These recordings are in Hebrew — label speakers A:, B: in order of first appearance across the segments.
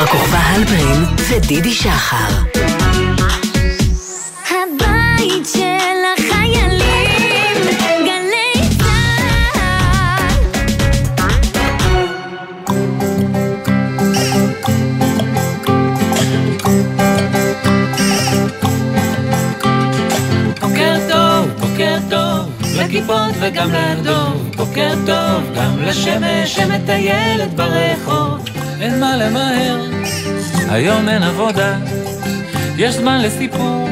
A: יובל הלברין ודידי שחר.
B: הבית של החיילים, גלי צה"ל.
C: בוקר טוב, בוקר טוב, לכיפות וגם לאדום. בוקר טוב, גם לשמש שמטיילת ברחוב. אין מה למהר, היום אין עבודה, יש זמן לסיפור,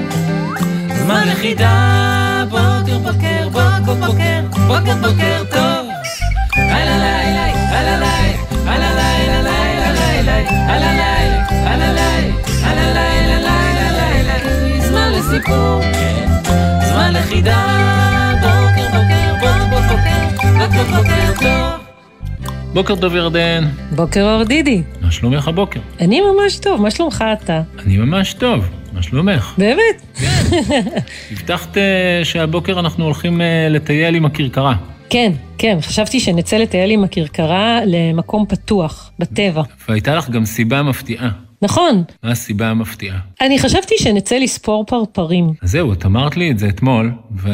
C: זמן לחידה. בוקר, בוקר, בוקר, בוקר, בוקר, בוקר טוב. הלא לילה, הלא לילה, הלא לילה, לילה, לילה, הלא לילה, הלא לילה, הלא לילה, לילה, לילה, זמן לסיפור. כן. זמן לחידה, בוקר, בוקר, בוקר, בוקר, בוקר, בוקר טוב. בוקר טוב ירדן,
D: בוקר אור דידי.
C: מה שלומך הבוקר?
D: אני ממש טוב, מה שלומך אתה?
C: אני ממש טוב, מה שלומך?
D: באמת?
C: הבטחת אה, שהבוקר אנחנו הולכים אה, לטייל עם הכרכרה.
D: כן, כן, חשבתי שנצא לטייל עם הכרכרה למקום פתוח, בטבע.
C: והייתה לך גם סיבה מפתיעה.
D: נכון,
C: מה הסיבה המפתיעה?
D: אני חשבתי שנצא לספור פרפרים.
C: אז זהו, את אמרת לי את זה אתמול,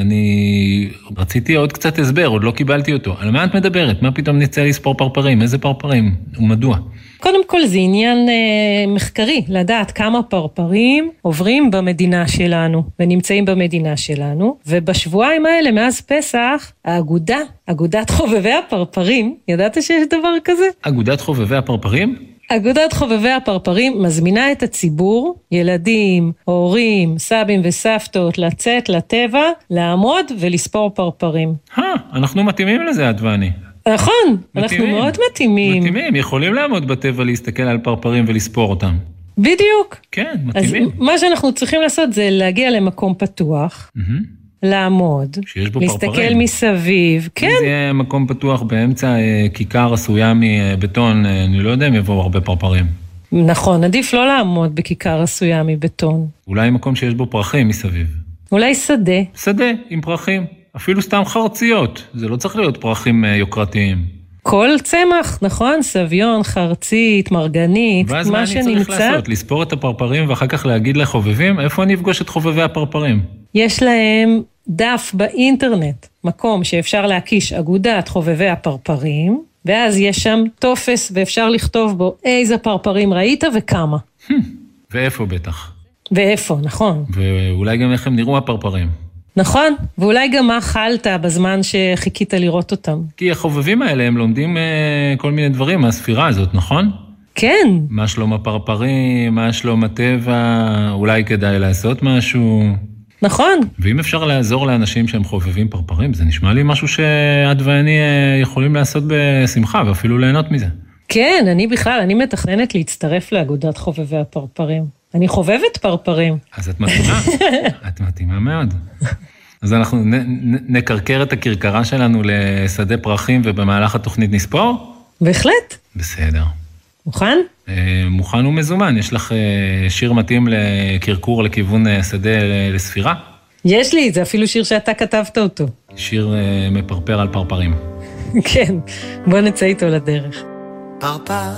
C: ואני רציתי עוד קצת הסבר, עוד לא קיבלתי אותו. על מה את מדברת? מה פתאום נצא לספור פרפרים? איזה פרפרים? ומדוע?
D: קודם כל זה עניין אה, מחקרי, לדעת כמה פרפרים עוברים במדינה שלנו ונמצאים במדינה שלנו, ובשבועיים האלה מאז פסח, האגודה, אגודת חובבי הפרפרים, ידעת שיש דבר כזה?
C: אגודת חובבי הפרפרים?
D: אגודת חובבי הפרפרים מזמינה את הציבור, ילדים, הורים, סבים וסבתות, לצאת לטבע, לעמוד ולספור פרפרים.
C: אה, אנחנו מתאימים לזה, את ואני.
D: נכון, אנחנו מאוד מתאימים.
C: מתאימים, יכולים לעמוד בטבע להסתכל על פרפרים ולספור אותם.
D: בדיוק.
C: כן,
D: אז
C: מתאימים.
D: מה שאנחנו צריכים לעשות זה להגיע למקום פתוח,
C: מהמם.
D: לעמוד,
C: Mm. שיש בו
D: להסתכל
C: פרפרים.
D: מסביב,
C: אם
D: כן,
C: זה יהיה מקום פתוח באמצע אה, כיכר עשויה מבטון, אה, אני לא יודע אם יבואו הרבה פרפרים.
D: נכון, עדיף לא לעמוד בכיכר עשויה מבטון.
C: אולי מקום שיש בו פרחים מסביב.
D: אולי שדה,
C: שדה עם פרחים, אפילו סתם חרציות, זה לא צריך להיות פרחים אה, יוקרתיים.
D: כל צמח, נכון? סביון, חרצית, מרגנית,
C: ואז מה
D: מה
C: אני צריך
D: שנמצא.
C: לעשות? לספור את הפרפרים ואחר כך להגיד לחובבים, איפה אני אפגוש את חובבי הפרפרים?
D: יש להם דף באינטרנט, מקום שאפשר להקיש אגודת חובבי הפרפרים, ואז יש שם טופס ואפשר לכתוב בו איזה פרפרים ראית וכמה.
C: ואיפה בטח?
D: ואיפה, נכון.
C: ואולי גם איך הם נראו הפרפרים.
D: נכון, ואולי גם מה אכלת בזמן שחיכית לראות אותם.
C: כי החובבים האלה, הם לומדים אה, כל מיני דברים מהספירה הזאת, נכון?
D: כן,
C: מה שלום הפרפרים, מה שלום הטבע, אולי כדאי לעשות משהו.
D: נכון,
C: ואם אפשר לעזור לאנשים שהם חובבים פרפרים, זה נשמע לי משהו שאת ואני אה, יכולים לעשות בשמחה ואפילו ליהנות מזה.
D: כן, אני בכלל, אני מתכננת להצטרף לאגודת חובבי הפרפרים. אני חובבת פרפרים.
C: אז את מתאימה, את מתאימה מאוד. אז אנחנו נ, נ, נקרקר את הכרכרה שלנו לשדה פרחים ובמהלך התוכנית נספור?
D: בהחלט,
C: בסדר.
D: מוכן?
C: אה, מוכן ומזומן, יש לך אה, שיר מתאים לקרקור לכיוון אה, שדה אה, לספירה?
D: יש לי, זה אפילו שיר שאתה כתבת אותו.
C: שיר אה, מפרפר על פרפרים.
D: כן, בוא נצא איתו לדרך.
E: פרפר,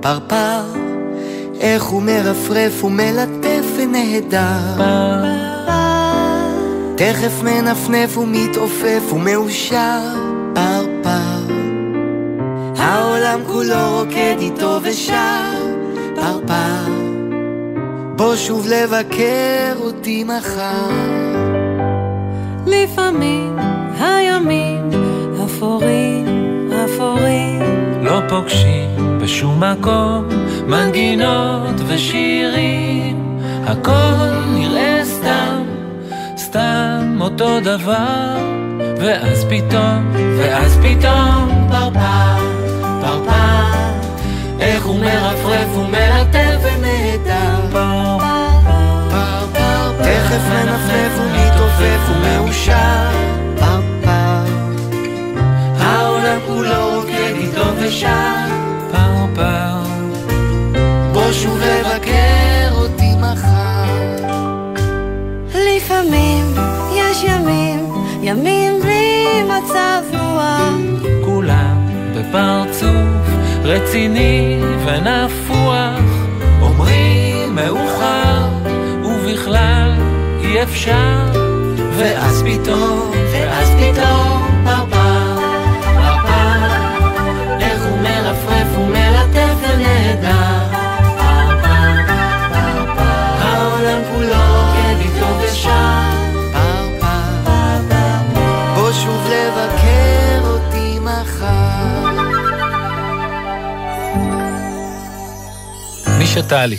E: פרפר, איך הוא מרפרף ומלטף ונהדר. תכף מנפנף ומתעופף ומאושר, פרפר. העולם כולו רוקד איתו ושר, פרפר. בוא שוב לבקר אותי מחר.
F: לפעמים הימים אפורים, אפורים.
C: לא פוגשים בשום מקום מנגינות ושירים הכל נראה סתם, סתם אותו דבר ואז פתאום, ואז פתאום פרפר, פרפר איך הוא מרפרף ומלטף ונהדר
E: פרפר, תכף מנפנף ומתעופף ומאושר, פרפר. העולם כולו רוקד איתו ושר,
C: פרפר
E: בוא שוב לבקר אותי מחר.
F: לפעמים יש ימים, ימים בלי מצב רוח.
C: כולם בפרצוף רציני ונפוח מאוחר, ובכלל אי אפשר.
B: ואז פתאום, ואז פתאום, פרפר, פרפר, איך הוא מרפרף ומלטף ונהדר, פרפר, פרפר, העולם כולו כן איתו ושר, פרפר, פרפר, בוא שוב לבקר אותי מחר.
C: מי שתה לי,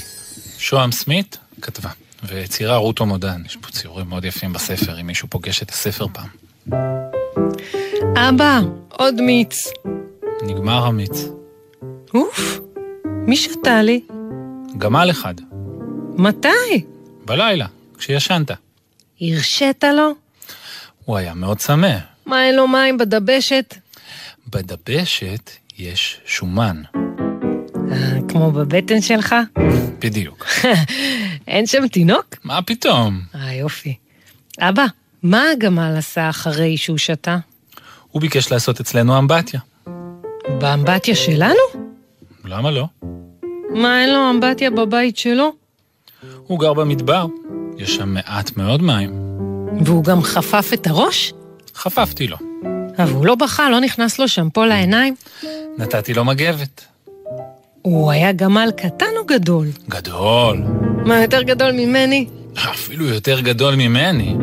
C: שוהם סמית, כתבה, ויצירה רותו מודן, יש פה ציורים מאוד יפים בספר, אם מישהו פוגש את הספר פעם.
D: אבא, עוד מיץ.
C: נגמר המיץ.
D: אוף, מי שתה לי?
C: גמל אחד,
D: מתי?
C: בלילה, כשישנת.
D: הרשית לו?
C: הוא היה מאוד צמא.
D: מה אין לו מים בדבשת?
C: בדבשת יש שומן.
D: אה, כמו בבטן שלך?
C: בדיוק.
D: אין שם תינוק?
C: מה פתאום?
D: אה, יופי. אבא, מה הגמל עשה אחרי שהוא שתה?
C: הוא ביקש לעשות אצלנו אמבטיה.
D: באמבטיה שלנו?
C: למה לא?
D: מה, אין לו אמבטיה בבית שלו?
C: הוא גר במדבר, יש שם מעט מאוד מים.
D: והוא גם חפף את הראש?
C: חפפתי לו.
D: אבל הוא לא בכה, לא נכנס לו שמפו לעיניים.
C: נתתי לו מגבת.
D: הוא היה גמל קטן או גדול?
C: גדול.
D: מה, יותר גדול ממני?
C: אפילו יותר גדול ממני.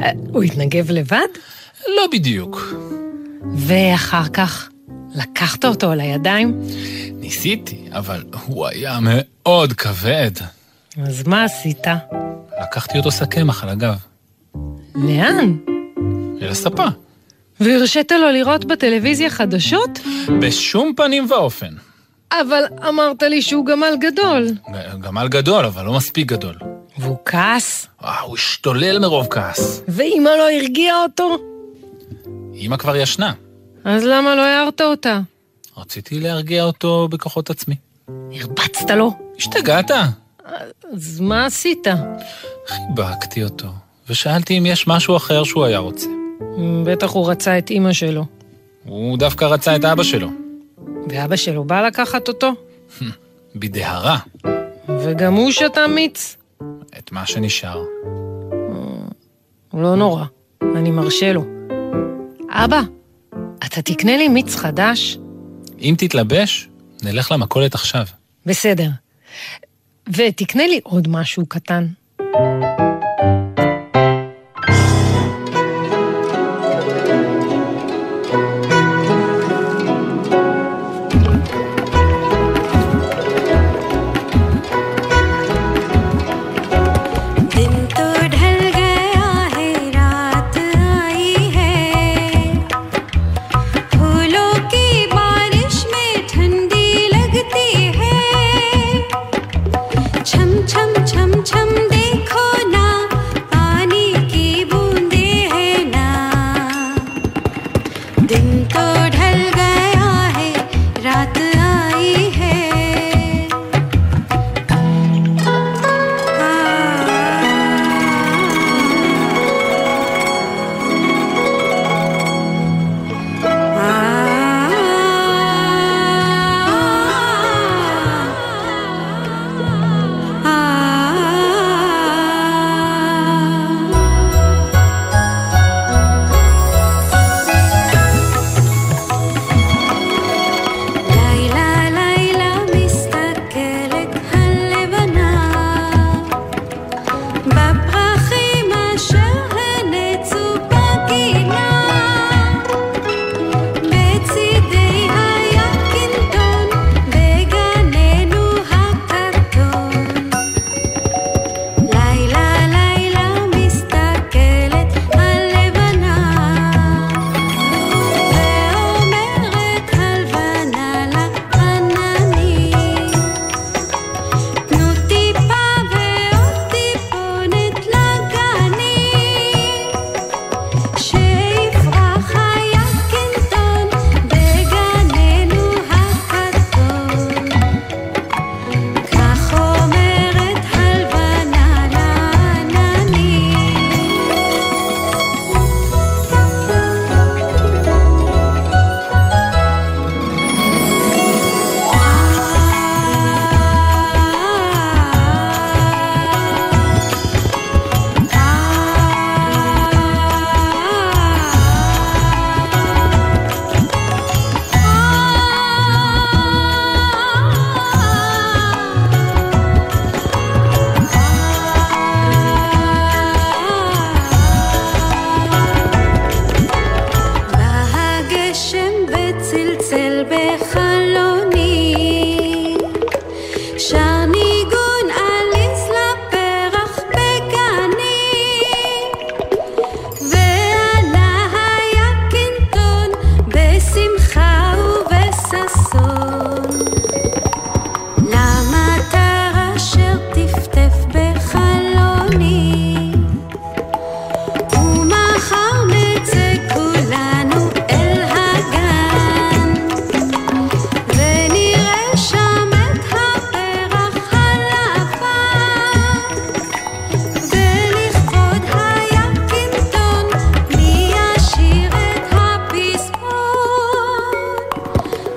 D: אה, הוא התנגב לבד?
C: לא בדיוק.
D: ואחר כך לקחת אותו על הידיים?
C: ניסיתי, אבל הוא היה מאוד כבד.
D: אז מה עשית?
C: לקחתי אותו שק קמח על הגב,
D: לאן?
C: אל הספה.
D: והרשית לו לראות בטלוויזיה חדשות?
C: בשום פנים ואופן.
D: אבל אמרת לי שהוא גמל גדול.
C: ג- גמל גדול, אבל לא מספיק גדול.
D: והוא כעס?
C: אה, הוא השתולל מרוב כעס.
D: ואימא לא הרגיעה אותו?
C: אמא כבר ישנה.
D: אז למה לא הערת אותה?
C: רציתי להרגיע אותו בכוחות עצמי.
D: הרבצת לו.
C: השתגעת?
D: אז מה עשית?
C: חיבקתי אותו, ושאלתי אם יש משהו אחר שהוא היה רוצה.
D: בטח הוא רצה את אימא שלו.
C: הוא דווקא רצה את אבא שלו,
D: ואבא שלו בא לקחת אותו,
C: בדהרה,
D: וגם הוא שתה מיץ.
C: את מה שנשאר.
D: לא נורא, אני מרשה לו. אבא, אתה תקנה לי מיץ חדש?
C: אם תתלבש, נלך למכולת עכשיו.
D: בסדר. ותקנה לי עוד משהו קטן.
G: दिन तो ढल गया है रात आई है फूलों की बारिश में ठंडी लगती है छम छम छम छम दे तो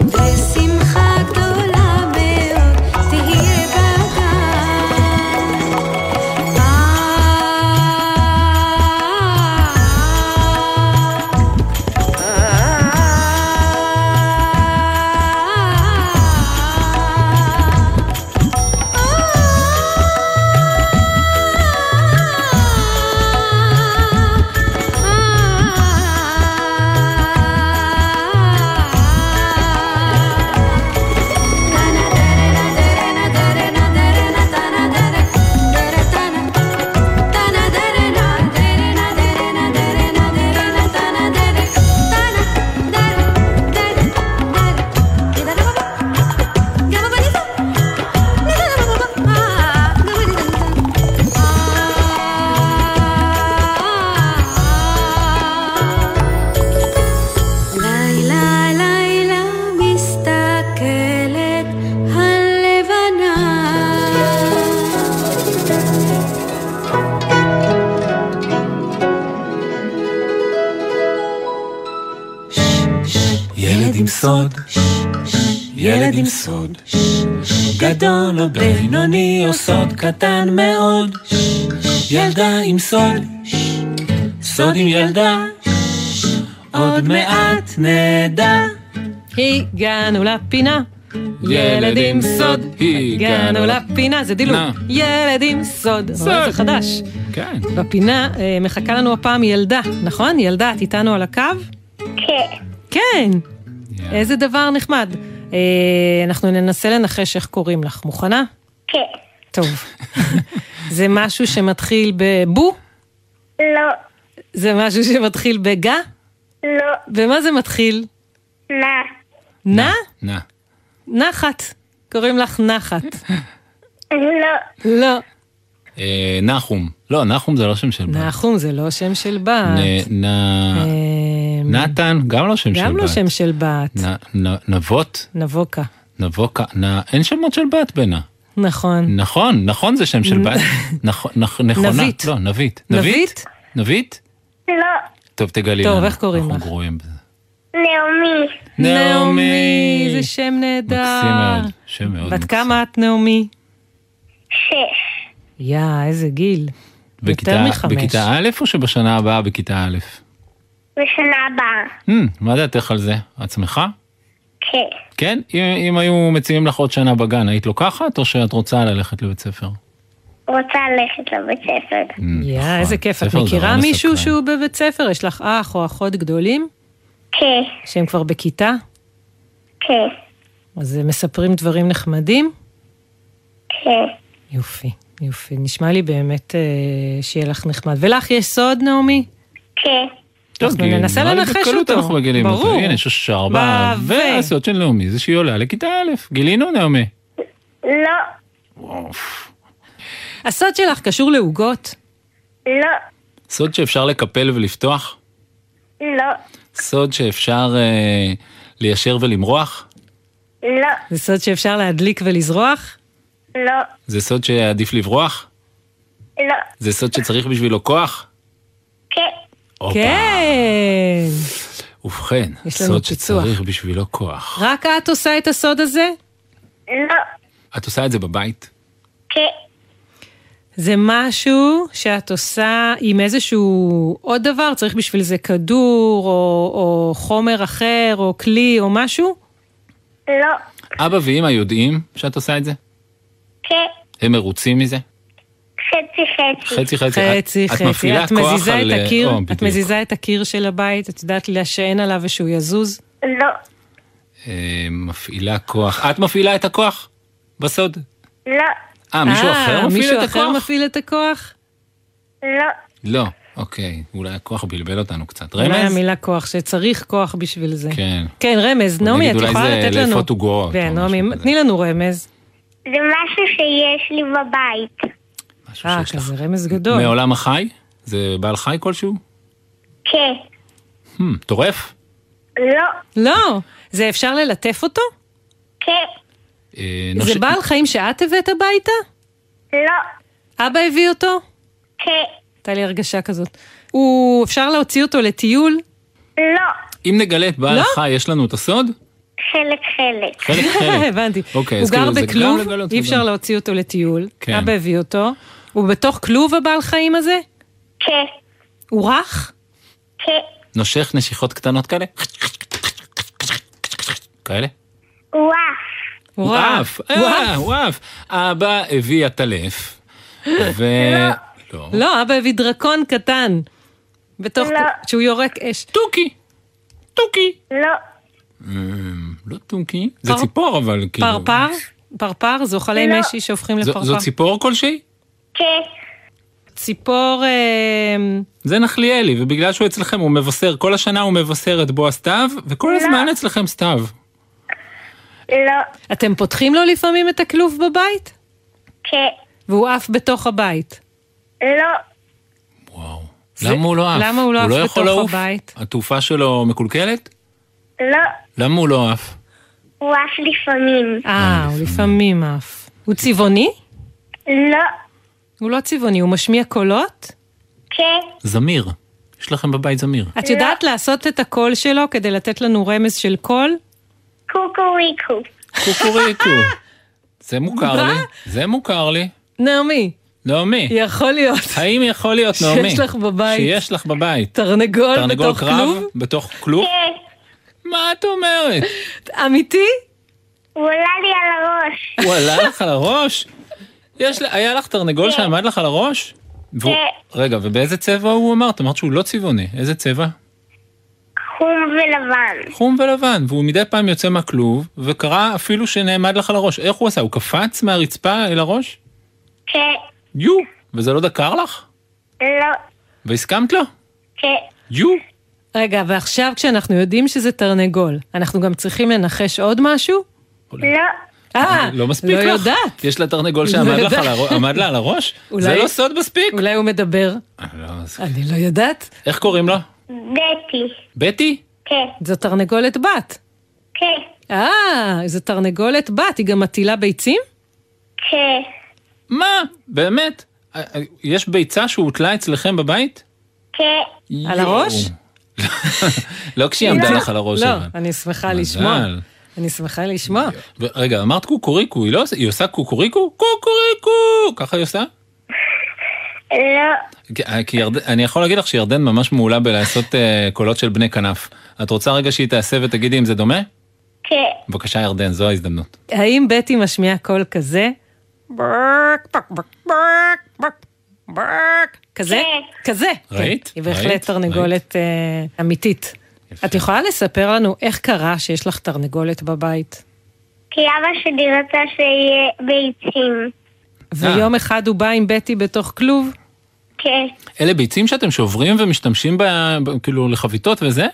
G: ושמחה גדולה מאוד תהיה אה. בגן. אה. לילה לילה מסתכלת הלבנה
C: ילד עם סוד, ילד עם סוד, גדול או בינוני או סוד קטן מאוד, ילדה עם סוד, סוד עם ילדה, עוד מעט נדע.
D: הגענו לפינה. ילד עם סוד, הגענו לפינה, זה דילוג.
C: נא.
D: ילד עם סוד,
C: סוד.
D: רואה, זה חדש.
C: כן.
D: בפינה אה, מחכה לנו הפעם ילדה, נכון? ילדה, את איתנו על הקו?
H: כן.
D: כן, איזה דבר נחמד. אה, אנחנו ננסה לנחש איך קוראים לך. מוכנה?
H: כן.
D: טוב. זה משהו שמתחיל בבו?
H: לא.
D: זה משהו שמתחיל בגה?
H: לא.
D: במה זה מתחיל?
H: נא.
D: נע?
C: נא.
D: נחת. קוראים לך נחת.
H: לא.
D: לא.
C: אה, נחום. לא, נחום זה לא שם של בת.
D: נחום זה לא שם של בת.
C: נ- נ-
D: אמ,
C: נתן, אה, גם לא שם של בת.
D: גם לא שם של בת.
C: נ- נ- נבות,
D: נבוקה.
C: נבוקה, נ- אין שמות של בת בינה.
D: נכון.
C: נכון, נכון זה שם של בת. נכון, נכ- נכונה.
D: נבית.
C: לא, נבית.
D: נבית?
C: נבית?
H: לא.
C: טוב, תגלי
D: טוב,
C: לנו.
D: איך קוראים לך?
C: אנחנו גרועים בזה.
H: נעמי.
D: נעמי. זה שם נהדר.
C: מקסים מאוד. שם מאוד.
D: בת
C: מקסים.
D: כמה את נעמי?
H: שש.
D: יא, איזה גיל.
C: בכיתה-
D: יותר מחמש.
C: בכיתה א' או שבשנה הבאה בכיתה א'?
H: בשנה הבאה.
C: Hmm, מה דעתך על זה? את שמחה?
H: כן.
C: כן? אם, אם היו מציעים לך עוד שנה בגן, היית לוקחת או שאת רוצה ללכת לבית ספר? Hmm,
H: רוצה ללכת לבית ספר.
D: יא,
C: נכון.
D: איזה כיף.
C: ספר
D: את
C: זה
D: מכירה
C: נורא
D: מישהו
C: מסקרן.
D: שהוא בבית ספר? יש לך אח או אחות גדולים
H: כן.
D: שהם כבר בכיתה?
H: כן.
D: אז הם מספרים דברים נחמדים?
H: כן.
D: יופי, יופי. נשמע לי באמת אה, שיהיה לך נחמד. ולך יש סוד, נעמי?
H: כן.
C: טוב,
D: אנחנו
C: כי
D: ננסה
C: נראה לי
D: לנחש
C: בקלות
D: אותו.
C: אנחנו מגלים אותו.
D: ברור.
C: הנה, שש ארבע,
D: ב- ו-
C: והסוד של נעמי זה שהיא עולה לכיתה א'. גילינו נעמי.
H: לא.
D: הסוד שלך קשור לעוגות?
H: לא.
C: סוד שאפשר לקפל ולפתוח?
H: לא.
C: סוד שאפשר אה, ליישר ולמרוח?
H: לא.
D: זה סוד שאפשר להדליק ולזרוח?
H: לא.
C: זה סוד שעדיף לברוח?
H: לא.
C: זה סוד שצריך בשבילו כוח?
H: כן.
C: הופה.
D: כן.
C: ובכן,
D: יש לנו
C: סוד
D: פיצוח.
C: שצריך בשבילו כוח.
D: רק את עושה את הסוד הזה?
H: לא.
C: את עושה את זה בבית?
H: כן.
D: זה משהו שאת עושה עם איזשהו עוד דבר? צריך בשביל זה כדור או, או חומר אחר או כלי או משהו?
H: לא.
C: אבא ואמא יודעים שאת עושה את זה?
H: כן.
C: הם מרוצים מזה?
H: חצי חצי.
C: חצי חצי.
D: חצי
C: את-
D: חצי.
C: את מפעילה
D: את
C: כוח
D: מזיזה
C: על... אה,
D: את הקיר,
C: או,
D: את
C: בדיוק.
D: מזיזה את הקיר של הבית, את יודעת להשען עליו ושהוא יזוז?
H: לא.
C: אה, מפעילה כוח. את מפעילה את הכוח? בסוד.
H: לא.
C: אה, מישהו
D: אה,
C: אחר מפעיל
D: מישהו
C: את
D: אחר
C: הכוח?
D: מפעיל את הכוח?
H: לא.
C: לא. אוקיי, אולי הכוח בלבל אותנו קצת.
D: אולי
C: רמז?
D: המילה כוח, שצריך כוח בשביל זה.
C: כן.
D: כן, רמז. נעמי,
C: נגיד,
D: את
C: אולי
D: יכולה
C: זה
D: לתת לנו...
C: לאפות עוגות או
D: כן,
C: משהו
D: נעמי,
C: כזה.
D: תני לנו רמז.
H: זה משהו שיש לי בבית.
C: משהו
D: אה,
C: שיש לך.
D: כזה רמז גדול.
C: מעולם החי? זה בעל חי כלשהו?
H: כן.
C: הם, טורף?
H: לא.
D: לא, זה אפשר ללטף אותו?
H: כן.
C: אה,
D: זה
C: נוש-
D: בעל חיים שאת הבאת הביתה?
H: לא.
D: אבא הביא אותו?
H: כן.
D: הייתה לי הרגשה כזאת. הוא, אפשר להוציא אותו לטיול?
H: לא.
C: אם נגלה את בעל
D: לא?
C: החי, יש לנו את הסוד?
I: חלק חלק.
C: חלק חלק.
D: הבנתי.
C: כן. אוקיי,
D: הוא
C: אז
D: גר
C: כאילו זה גם
D: בכלוב,
C: לגלות
D: אי
C: וגם-
D: אפשר להוציא אותו לטיול.
C: כן.
D: אבא הביא אותו. הוא בתוך כלוב הבעל חיים הזה?
I: כ,
D: הוא רך?
I: כ,
C: נושך נשיכות קטנות כאלה? כאלה?
I: וואף.
D: הוא
C: עף.
D: הוא
C: אה,
D: עף.
C: הוא עף. אבא הביא עטלף. ו... לא.
D: לא, אבא הביא דרקון קטן. בתוך...
I: לא.
D: כל- שהוא יורק אש.
C: תוכי. תוכי.
I: לא,
C: אמ, לא תוכי. זה
D: פר-
C: ציפור אבל כאילו.
D: פרפר? פרפר? זה אוכלי
I: לא.
D: משי שהופכים
C: זו- זו
D: לפרפר.
C: ציפור כלשהי?
I: כ,
D: ציפור... אה,
C: זה נחליאלי, ובגלל שהוא אצלכם הוא מבשר, כל השנה הוא מבשר את בוא הסתיו, וכל הזמן אצלכם סתיו.
I: לא,
D: אתם פותחים לו לפעמים את הכלוב בבית?
I: כ,
D: והוא עף בתוך הבית.
I: לא,
C: וואו. למה הוא לא עף?
D: למה הוא לא עף
C: יכול
D: בתוך
C: לעוף?
D: הבית?
C: התעופה שלו מקולקלת?
I: לא,
C: למה הוא לא עף?
I: הוא עף לפעמים.
D: אה, הוא לפעמים עף. הוא צבעוני?
I: לא,
D: הוא לא צבעוני, הוא משמיע קולות?
I: כ,
C: זמיר. יש לכם בבית זמיר.
D: את יודעת לעשות את הקול שלו כדי לתת לנו רמז של קול?
I: קוקוריקו.
C: קוקוריקו. זה מוכר
D: מה?
C: לי. זה מוכר לי.
D: נעמי,
C: נעמי,
D: יכול להיות.
C: האם יכול להיות נעמי?
D: שיש לך בבית.
C: שיש לך בבית.
D: תרנגול
C: תרנגול
D: בתוך
C: קרב
D: כלוב?
C: בתוך כלוב?
I: כ,
C: מה את אומרת?
D: אמיתי?
I: הוא עלה לי על הראש.
C: הוא עלה לך על הראש? יש, לה- היה לך תרנגול
D: כן.
C: שעמד לך על הראש? והוא-
I: כן.
C: רגע, ובאיזה צבע הוא אמר? את אמרת שהוא לא צבעוני. איזה צבע?
I: חום ולבן.
C: חום ולבן, והוא מדי פעם יוצא מהכלוב, וקרא אפילו שנעמד לך על הראש. איך הוא עשה? הוא קפץ מהרצפה אל הראש?
I: כ,
C: יו! וזה לא דקר לך?
I: לא,
C: והסכמת לו?
I: כ,
C: יו!
D: רגע, ועכשיו כשאנחנו יודעים שזה תרנגול, אנחנו גם צריכים לנחש עוד משהו?
I: לא,
D: אה,
C: לא מספיק לך.
D: לא יודעת.
C: יש לה תרנגול
D: לא
C: שעמד לך
D: יודעת.
C: על הראש- עמד לה על הראש?
D: אולי-
C: זה לא סוד מספיק.
D: אולי הוא מדבר.
C: אה, לא, אז-
D: אני לא יודעת.
C: איך קוראים לה?
I: בטי.
C: בטי?
I: כ,
D: זו תרנגולת בת.
I: כ,
D: אה, זו תרנגולת בת, היא גם מטילה ביצים?
I: כ,
C: מה? באמת? אה, אה, יש ביצה שהוטלה אצלכם בבית?
I: כ,
D: על הראש?
C: לא כשהיא עמדה לך על הראש.
D: לא,
C: אבל.
D: אני שמחה לשמוע. אני שמחה לשמוע.
C: רגע, אמרת קוקוריקו, היא לא עושה, היא עושה קוקוריקו? קוקוריקו! ככה היא עושה?
I: לא,
C: כי- אה, כי ירד... אני יכול להגיד לך שירדן ממש מעולה בלעשות אה, קולות של בני כנף. את רוצה רגע שהיא תעשה ותגידי אם זה דומה?
I: כ,
C: בבקשה ירדן, זו ההזדמנות.
D: האם בטי משמיעה קול כזה? ברק, ברק, ברק, ברק, ברק, ברק. כזה?
I: כן.
D: כזה.
C: ראית?
D: כן, היא
C: ראית?
D: בהחלט תרנגולת אה, אמיתית. את יכולה לספר לנו איך קרה שיש לך תרנגולת בבית?
I: כי אבא שלי רצה שיהיה ביצים.
D: ויום
C: אה.
D: אחד הוא בא עם בטי בתוך כלוב?
I: כ,
C: אלה ביצים שאתם שוברים ומשתמשים ב... ב- כאילו לחביתות וזה?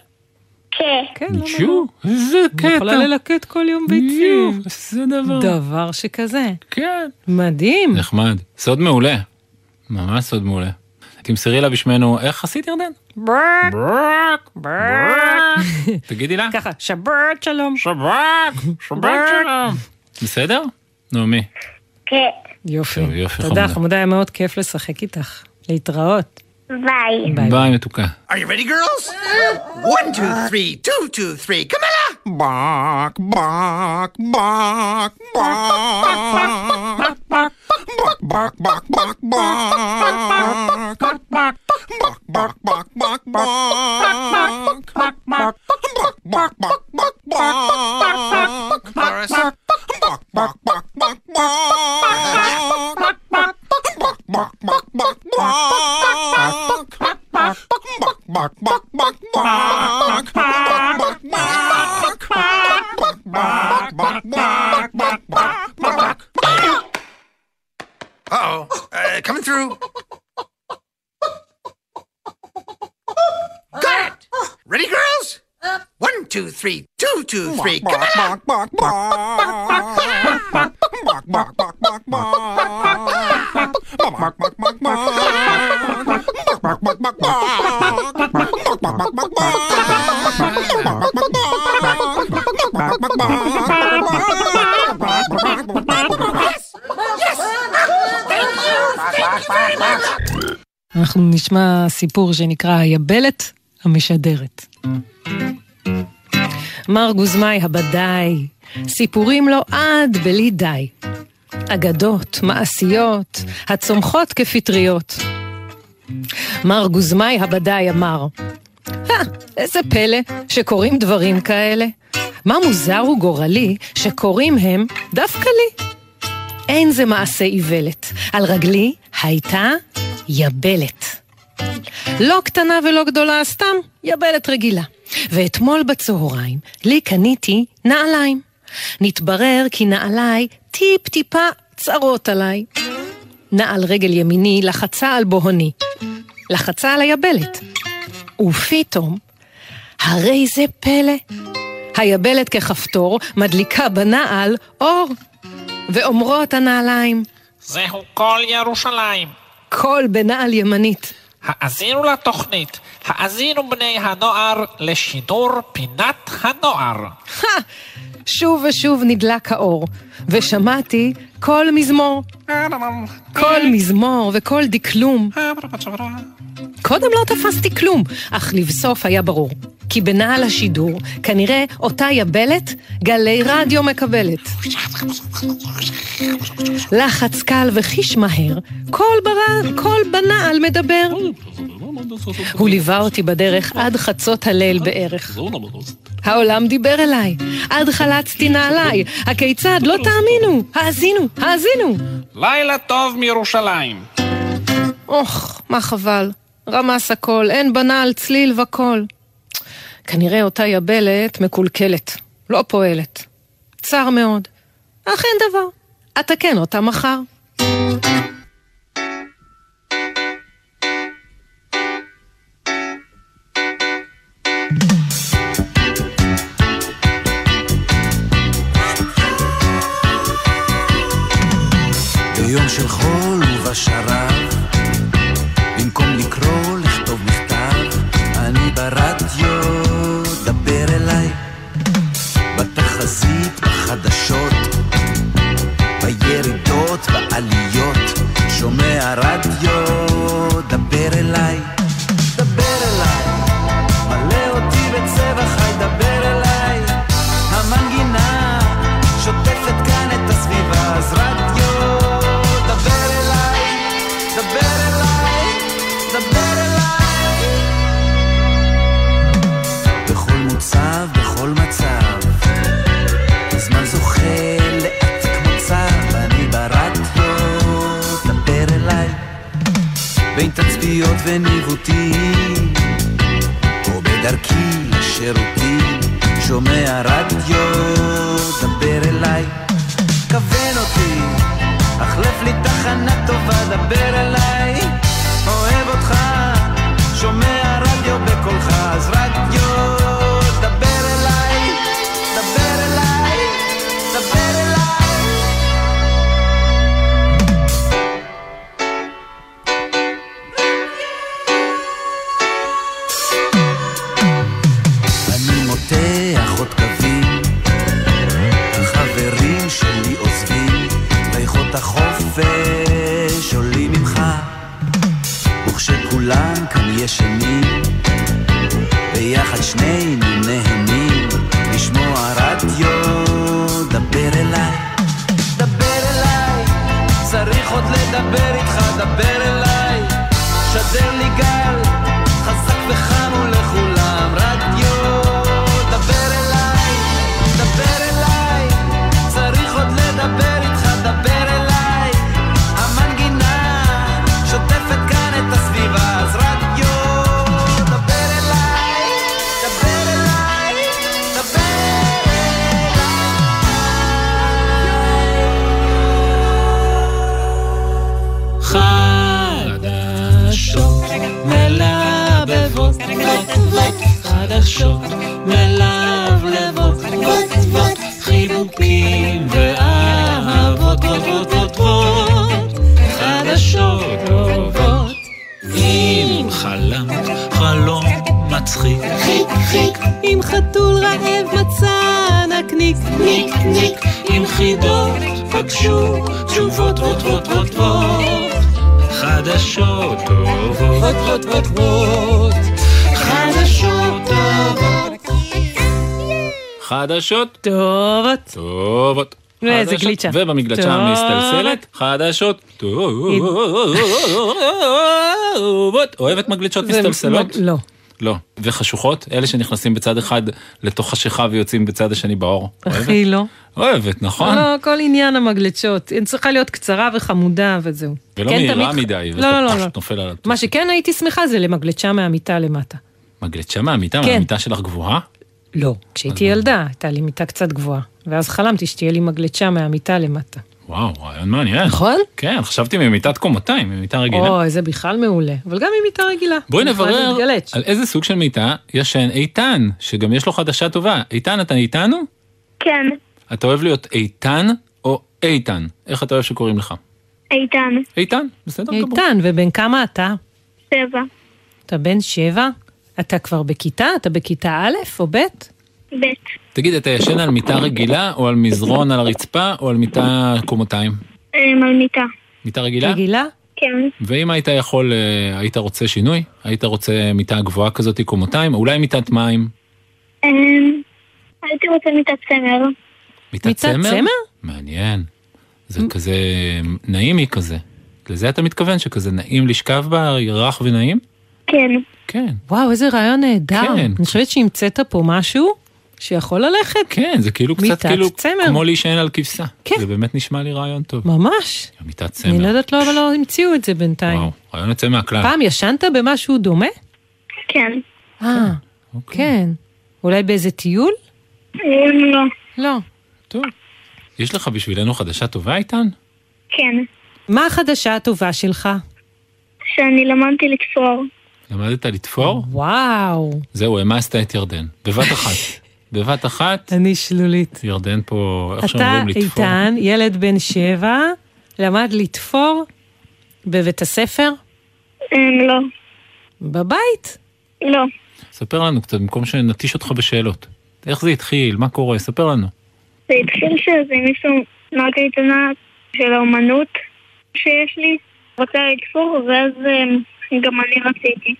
I: כ,
D: כן, למה
C: ג'ו, איזה
D: לא?
C: קטע.
D: יכולה ללקט כל יום
C: יו,
D: ביצים.
C: איזה דבר.
D: דבר שכזה.
C: כן.
D: מדהים.
C: נחמד. סוד מעולה. ממש סוד מעולה. תמסרי לה בשמנו, איך עשית ירדן?
D: כן. ברק,
C: ברק,
D: ברק.
C: תגידי לה.
D: ככה, שבת שלום.
C: שברק, שברק שלום. בסדר? נעמי.
I: כ,
D: יופי.
C: טוב, יופי,
D: תודה,
C: חמודה.
D: חמודה, היה מאוד כיף לשחק איתך. להתראות.
I: ביי.
D: ביי.
C: ביי מתוקה.
J: Are you ready, girls? One, two, three, two, two, three. Come on! Bark, bark, bark, bark. Bark, bark, bark, bark, bark. Bark, bark, bark, bark, bark. Bark, bark, bark, bark, bark. Chorus. Bark, bark, bark, bark, bark. Bark, bark, bark, bark, bark.
K: Uh-oh. Uh, coming through. Got it. Ready, girls? One, two, three, two, two, three. Come on.
D: אנחנו נשמע סיפור שנקרא היבלת המשדרת. מר גוזמאי הבדאי, סיפורים לו עד בלי די. אגדות, מעשיות, הצומחות כפטריות. מר גוזמאי הבדאי אמר, "הא, איזה פלא שקורים דברים כאלה. מה מוזר וגורלי שקורים הם דווקא לי. אין זה מעשה איוולת, על רגלי הייתה יבלת. לא קטנה ולא גדולה, סתם יבלת רגילה. ואתמול בצהריים, לי קניתי נעליים. נתברר כי נעליי טיפ-טיפה צרות עליי. נעל רגל ימיני לחצה על בוהוני. לחצה על היבלת. ופתאום, הרי זה פלא. היבלת ככפתור מדליקה בנעל אור. ואומרות הנעליים,
L: זהו כל ירושלים.
D: קול בנעל ימנית.
L: האזינו לתוכנית, האזינו בני הנוער לשידור פינת הנוער.
D: "הא!" שוב ושוב נדלק האור, ושמעתי קול מזמור. קול מזמור וקול דקלום. קודם לא תפסתי כלום, אך לבסוף היה ברור. כי בנעל השידור, כנראה אותה יבלת, גלי רדיו מקבלת. לחץ קל וחיש מהר, קול, בר... קול בנעל מדבר. הוא ליווה אותי בדרך עד חצות הליל בערך. העולם דיבר אליי, עד חלצתי נעליי, הכיצד לא תאמינו, האזינו, האזינו.
L: לילה טוב מירושלים.
D: אוח, מה חבל. רמס הכל, אין בנעל צליל וקול. כנראה אותה יבלת מקולקלת, לא פועלת. צר מאוד. אך אין דבר. אתקן אותה מחר.
M: ביום של חול ובשרב, במקום לקרוא, לכתוב מכתב, אני ברדיו, דבר אליי. בתחזית, בחדשות, בירידות, בעליות, שומע רדיו, דבר אליי. דבר אליי, מלא אותי בצבע חי, דבר אליי. המנגינה שוטפת כאן את הסביבה, אז רדיו, דבר אליי, דבר אליי, דבר אליי. בכל מוצב, בכל מצב, הזמן זוכה לעתיק מצב, אני ברדיו, דבר אליי. בין תצפיות וניווטים, או בדרכי לשירותים, שומע רדיו, דבר אליי. כוון אותי, החלף לי תחנה טובה, דבר אליי. אוהב אותך, שומע רדיו בקולך, אז רדיו, דבר אליי, דבר אליי, דבר אליי. אני מותח עוד קווים, החברים שלי עוזבים, ריחות החופש עולים ממך, וכשכולם כאן ישנים, ביחד שנינו נהנים, לשמוע רדיו, דבר אליי, דבר אליי, צריך עוד לדבר איתך, דבר אליי, שדר לי גל, חזק וחם ולכולם, רדיו, דבר אליי, דבר אליי, צריך עוד לדבר איתך, דבר אליי, המנגינה שוטפת כאן את הסביבה, אז רדיו, דבר אליי, דבר אליי, דבר
N: חדשות מלבבות, חדשות מלבלבות, חיבוקים ואהבות, חדשות טובות. אם חלמת חלום מצחיק,
G: חיק, עם חתול רעב מצא נקניק, ניק, ניק,
N: עם חידות פגשו תשובות רות רות רות רות חדשות טובות רות רות רות רות חדשות טובות
C: חדשות.
D: טובות.
C: טובות.
D: ואיזה
C: חדשות.
D: גליצ'ה.
C: ובמגלצ'ה
D: טוב.
C: המסתלסלת, חדשות. טובות. אוהבת מגלצ'ות
D: זה
C: מסתלסלות?
D: מג- לא.
C: לא. וחשוכות? אלה שנכנסים בצד אחד לתוך חשיכה ויוצאים בצד השני באור.
D: אחי, לא.
C: אוהבת, נכון?
D: לא, כל עניין המגלצ'ות. היא צריכה להיות קצרה וחמודה וזהו.
C: ולא
D: כן,
C: מהירה
D: תמיד-
C: מדי,
D: לא, לא, לא,
C: ואתה
D: לא.
C: פשוט נופל על הת-
D: מה שכן הייתי שמחה זה למגלצ'ה מהמיטה למטה.
C: מגלצ'ה מהמיטה,
D: כן.
C: מהמיטה שלך גבוהה?
D: לא. כשהייתי ילדה, הייתה לי מיטה קצת גבוהה. ואז חלמתי שתהיה לי מגלצ'ה מהמיטה למטה.
C: וואו, רעיון מעניין.
D: נכון?
C: כן, חשבתי ממיטת קומתיים, ממיטה רגילה.
D: אוי, זה בכלל מעולה. אבל גם עם מיטה רגילה.
C: בואי
D: אני יכולה
C: נברר
D: להתגלץ.
C: על איזה סוג של מיטה ישן איתן, שגם יש לו חדשה טובה. איתן, אתה איתנו?
I: כן,
C: אתה אוהב להיות איתן או איתן? איך אתה אוהב שקוראים לך?
I: איתן,
C: איתן, בסדר גמור.
D: איתן, ובן כמה אתה?
I: שבע,
D: אתה בן שבע? אתה כבר בכיתה? אתה בכיתה א' או ב'?
I: ב'.
C: תגיד, אתה ישן על מיטה רגילה, או על מזרון על הרצפה, או על מיטה קומתיים?
I: אה, מלמיתה.
C: מיטה רגילה?
D: רגילה?
I: כן,
C: ואם היית יכול, אה, היית רוצה שינוי? היית רוצה מיטה גבוהה כזאת, קומתיים? אולי מיטת מים?
I: אה, הייתי רוצה מיטת צמר.
C: מיטת
I: מיטת
C: צמר?
I: צמר?
C: מעניין. זה כזה נעימי כזה. לזה אתה מתכוון, שכזה נעים לשכב בה, רך ונעים?
I: כן.
C: כן.
D: וואו, איזה רעיון נהדר.
C: כן.
D: אני חושבת שהמצאת פה משהו שיכול ללכת.
C: כן, זה כאילו קצת
D: מיטת
C: כאילו,
D: צמר.
C: כמו להישען על כבשה.
D: כן.
C: זה באמת נשמע לי רעיון טוב.
D: ממש.
C: מיטת
D: אני לא
C: צמר,
D: יודעת, אה, לא, אבל לא המציאו את זה בינתיים.
C: וואו, רעיון יוצא מהכלל.
D: פעם ישנת במשהו דומה?
I: כן.
D: אה,
C: אוקיי,
D: כן. אולי באיזה טיול?
I: לא.
D: לא.
C: טוב. יש לך בשבילנו חדשה טובה איתן?
I: כן,
D: מה החדשה הטובה שלך?
I: שאני למדתי לקצור.
C: למדת לתפור?
D: וואו.
C: זהו, העמסת את ירדן. בבת אחת. בבת אחת.
D: אני שלולית.
C: ירדן פה, איך
D: אתה,
C: שאומרים, לתפור.
D: איתן, ילד בן שבע, למד לתפור בבית הספר?
I: לא.
D: בבית?
I: לא.
C: ספר לנו קצת, במקום שנתיש אותך בשאלות. איך זה התחיל? מה קורה? ספר לנו.
I: זה התחיל שזה מישהו מהקייטנה של האומנות שיש לי, רוצה לתפור, ואז אה, גם אני רציתי.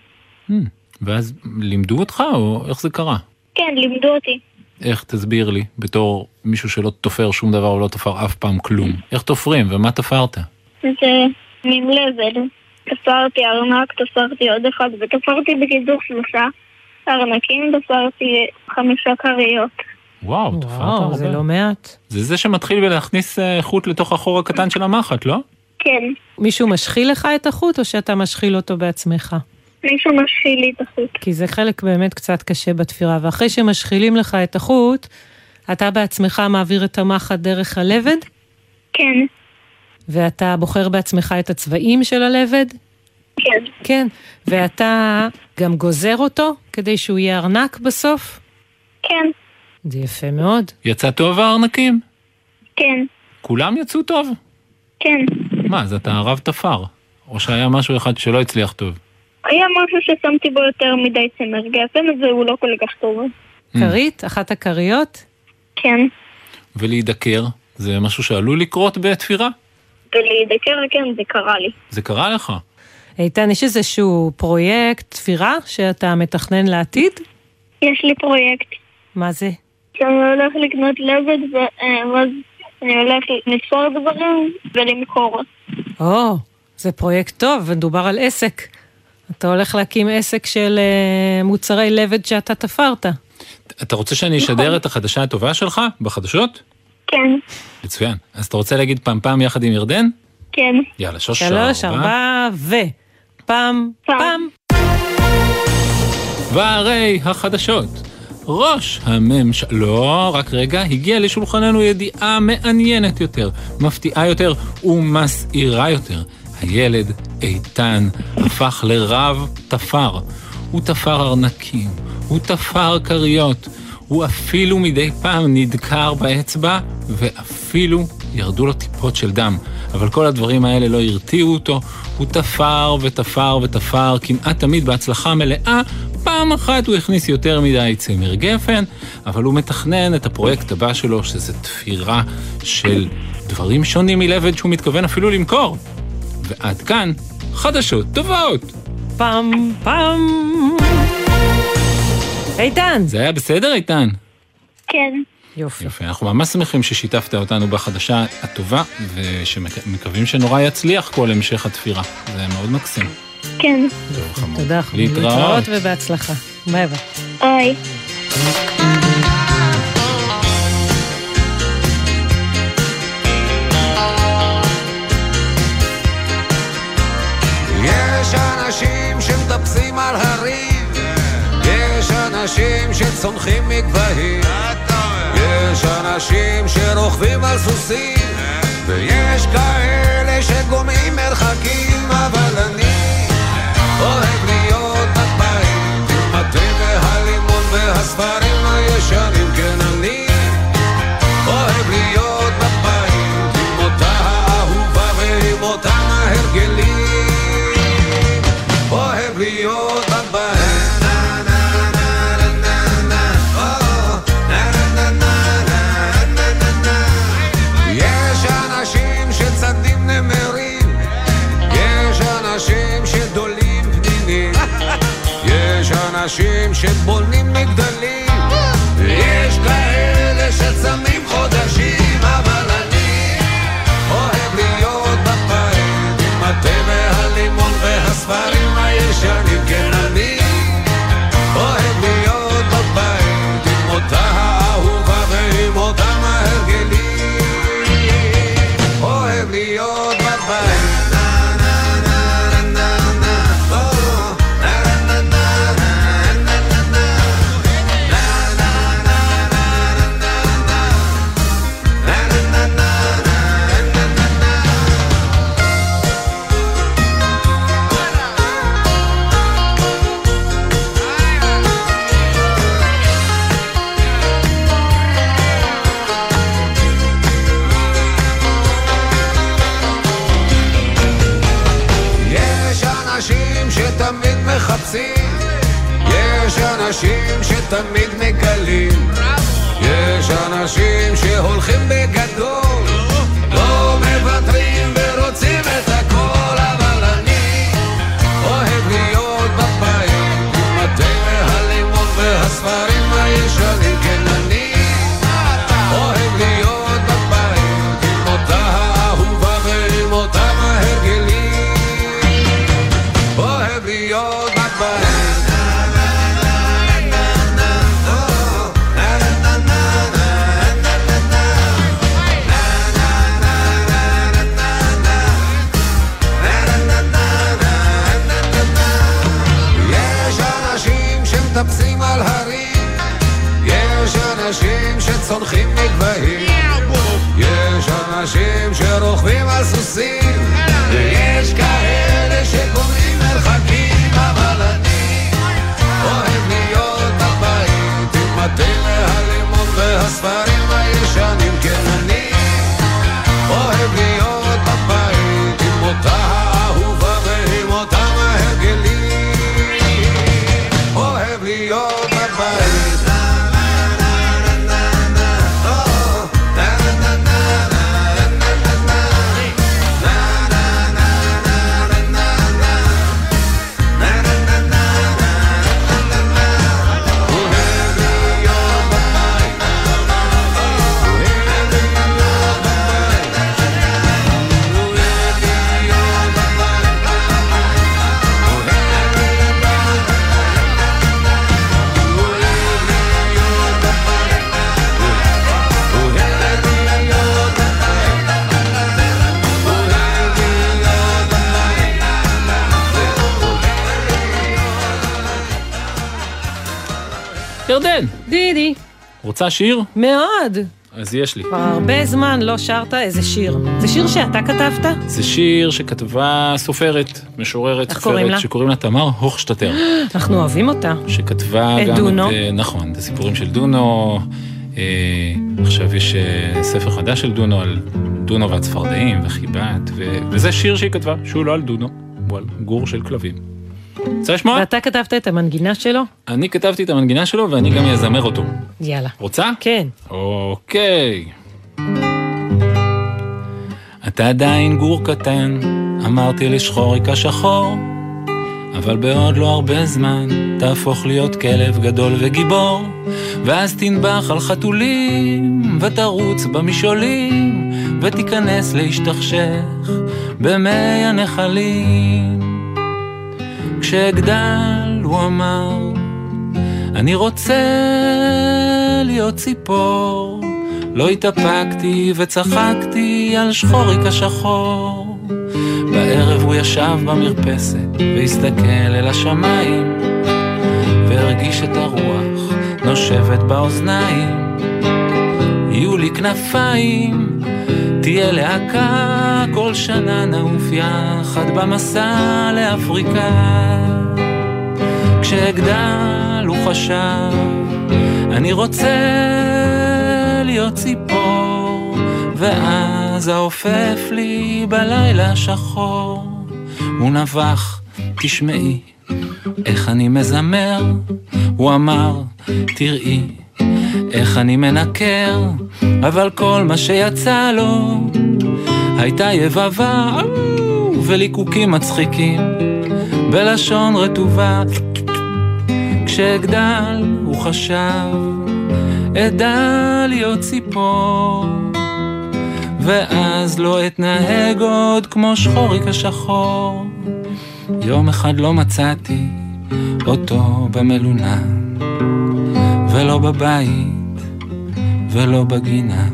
C: ואז לימדו אותך, או איך זה קרה?
I: כן, לימדו אותי.
C: איך, תסביר לי, בתור מישהו שלא תופר שום דבר או לא תפר אף פעם כלום. איך תופרים ומה תפרת?
I: זה מין לבל. תפרתי ארנק, תפרתי עוד אחד, ותפרתי בקידור שלושה ארנקים, תפרתי חמישה כריות.
C: וואו, תפרת הרבה.
D: זה לא מעט.
C: זה זה שמתחיל בלהכניס אה, חוט לתוך החור הקטן של המחט, לא?
I: כן,
D: מישהו משחיל לך את החוט או שאתה משחיל אותו בעצמך?
I: מישהו משחיל לי את החוט.
D: כי זה חלק באמת קצת קשה בתפירה, ואחרי שמשחילים לך את החוט, אתה בעצמך מעביר את המחט דרך הלבד?
I: כן.
D: ואתה בוחר בעצמך את הצבעים של הלבד?
I: כן.
D: כן, ואתה גם גוזר אותו כדי שהוא יהיה ארנק בסוף?
I: כן.
D: זה יפה מאוד.
C: יצא טוב הארנקים?
I: כן,
C: כולם יצאו טוב?
I: כן.
C: מה, אז אתה רב תפר. או שהיה משהו אחד שלא הצליח טוב.
I: היה משהו ששמתי בו יותר מדי צמר גפן, והוא לא כל כך טוב.
D: כרית, אחת הכריות?
I: כן.
C: ולהידקר, זה משהו שעלול לקרות בתפירה?
I: ולהידקר, כן, זה קרה לי.
C: זה קרה לך.
D: איתן, יש איזשהו פרויקט תפירה שאתה מתכנן לעתיד?
I: יש לי פרויקט.
D: מה זה?
I: שאני הולך לקנות לבד, ו- ואז אני הולך לתפור דברים ולמכור.
D: או, זה פרויקט טוב, מדובר על עסק. אתה הולך להקים עסק של אה, מוצרי לבד שאתה תפרת.
C: אתה רוצה שאני
D: נכון.
C: אשדר את החדשה הטובה שלך בחדשות?
I: כן.
C: מצוין. אז אתה רוצה להגיד פעם פעם יחד עם ירדן?
I: כן.
C: יאללה, שוש
D: שלוש, ארבע, ו... פעם, פעם.
C: והרי החדשות. ראש הממשלה, לא, רק רגע, הגיעה לשולחננו ידיעה מעניינת יותר, מפתיעה יותר ומסעירה יותר. הילד איתן הפך לרב תפר. הוא תפר ארנקים, הוא תפר כריות, הוא אפילו מדי פעם נדקר באצבע, ואפילו ירדו לו טיפות של דם. אבל כל הדברים האלה לא הרתיעו אותו, הוא תפר ותפר ותפר, כמעט תמיד בהצלחה מלאה. פעם אחת הוא הכניס יותר מדי צמר גפן, אבל הוא מתכנן את הפרויקט הבא שלו, שזה תפירה של דברים שונים מלבד שהוא מתכוון אפילו למכור. ועד כאן, חדשות טובות.
D: פעם, פעם. איתן.
C: זה היה בסדר, איתן?
I: כן.
D: יופי.
C: יפה, אנחנו ממש שמחים ששיתפת אותנו בחדשה הטובה, ושמקווים שנורא יצליח כל המשך התפירה. זה מאוד מקסים.
I: כן.
D: תודה, חמוד.
C: להתראות.
D: ובהצלחה. ביי ביי.
I: היי.
O: יש אנשים שמטפסים על הרים, יש אנשים שצונחים מגבהים, יש אנשים שרוכבים על סוסים, ויש כאלה שגומעים מרחקים, אבל אני אוהב להיות נתבעים, עם התה והלימון והספרים הישנים, כן אני אוהב להיות נתבעים, עם אותה האהובה ועם אותם ההרגלים. אוהב להיות נתבעים. יש אנשים שצדים נמרים, יש אנשים שדולים פנינים, יש אנשים שבונים מגדלים, ויש כאלה שצמים חודשים, אבל אני אוהב להיות בפעם, עם התה והלימון והספרים הישנים, כן אני אוהב להיות בפעם, עם אותה האהובה ועם אותם ההרגלים, אוהב להיות בפעם. יש אנשים שתמיד מחפשים, יש אנשים שתמיד מגלים, יש אנשים שהולכים בגדול, לא מוותרים ורוצים את הכל, אבל אני אוהב להיות בבית, עם התה והלימון והספרים הישנים, כן אני אוהב להיות בבית, עם אותה האהובה ועם אותם ההרגלים. אוהב להיות בבית. יש אנשים שמטפסים על הרים, יש אנשים שצונחים מגבהים, יש אנשים שרוכבים על סוסים, ויש כאלה שקובעים מרחקים, אבל אני אוהב להיות בבית, עם התה והלימון והספרים הישנים, כן אני אוהב להיות בבית, עם אותה האהובה ועם אותם ההרגלים, אוהב להיות בבית.
C: ירדן,
D: דידי,
C: רוצה שיר?
D: מאוד.
C: אז יש לי.
D: כבר הרבה זמן לא שרת איזה שיר. זה שיר שאתה כתבת?
C: זה שיר שכתבה סופרת, משוררת,
D: איך קוראים לה?
C: סופרת, שקוראים לה תמר הוכשטטר.
D: אנחנו אוהבים אותה.
C: שכתבה
D: את
C: גם
D: דונו.
C: את... אה, נכון, את הסיפורים של דונו. אה, עכשיו יש אה, ספר חדש של דונו על דונו והצפרדעים וחיבת, ו... וזה שיר שהיא כתבה, שהוא לא על דונו, הוא על גור של כלבים. רוצה לשמוע?
D: ואתה כתבת את המנגינה שלו?
C: אני כתבתי את המנגינה שלו ואני גם אזמר אותו.
D: יאללה.
C: רוצה?
D: כן.
C: אוקיי. אתה עדיין גור קטן, אמרתי לשחוריק השחור, אבל בעוד לא הרבה זמן תהפוך להיות כלב גדול וגיבור,
N: ואז תנבח על חתולים, ותרוץ במשעולים, ותיכנס להשתכשך במי הנחלים. כשאגדל, הוא אמר, אני רוצה להיות ציפור. לא התאפקתי וצחקתי על שחוריק השחור. בערב הוא ישב במרפסת והסתכל אל השמיים, והרגיש את הרוח נושבת באוזניים. יהיו לי כנפיים, תהיה להקה, כל שנה נעוף יחד במסע לאפריקה. כשאגדל הוא חשב, אני רוצה להיות ציפור, ואז העופף לי בלילה השחור. הוא נבח, תשמעי, איך אני מזמר, הוא אמר, תראי, איך אני מנקר, אבל כל מה שיצא לו הייתה יבבה אוו, וליקוקים מצחיקים בלשון רטובה. כשאגדל הוא חשב, אדע להיות ציפור, ואז לא אתנהג עוד כמו שחוריק השחור. יום אחד לא מצאתי אותו במלונה, ולא בבית, ולא בגינה.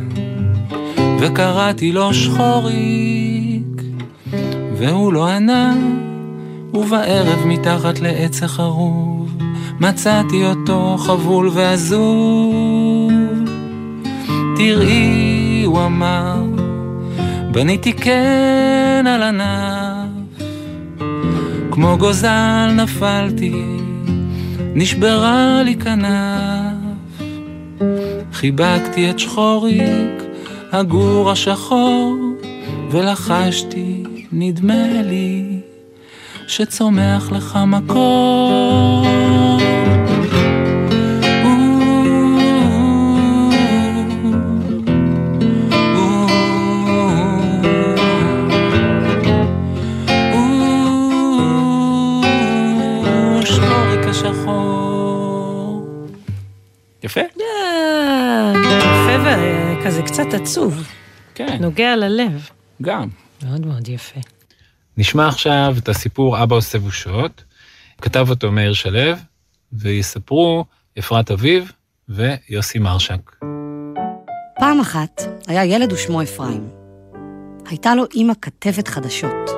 N: וקראתי לו שחוריק, והוא לא ענה, ובערב מתחת לעץ החרוב, מצאתי אותו חבול ועזוב. תראי, הוא אמר, בניתי קן על ענף, כמו גוזל נפלתי, נשברה לי כנף. חיבקתי את שחוריק, הגור השחור, ולחשתי, נדמה לי, שצומח לך מקור. שחוריק השחור. יפה?
D: אה, יפה וכזה קצת עצוב.
N: כן.
D: נוגע ללב.
N: גם.
D: מאוד מאוד יפה.
C: נשמע עכשיו את הסיפור אבא עושה בושות, כתב אותו מאיר שלו, ויספרו אפרת אביב ויוסי מרשק.
F: פעם אחת היה ילד ושמו אפרים. הייתה לו אימא כתבת חדשות.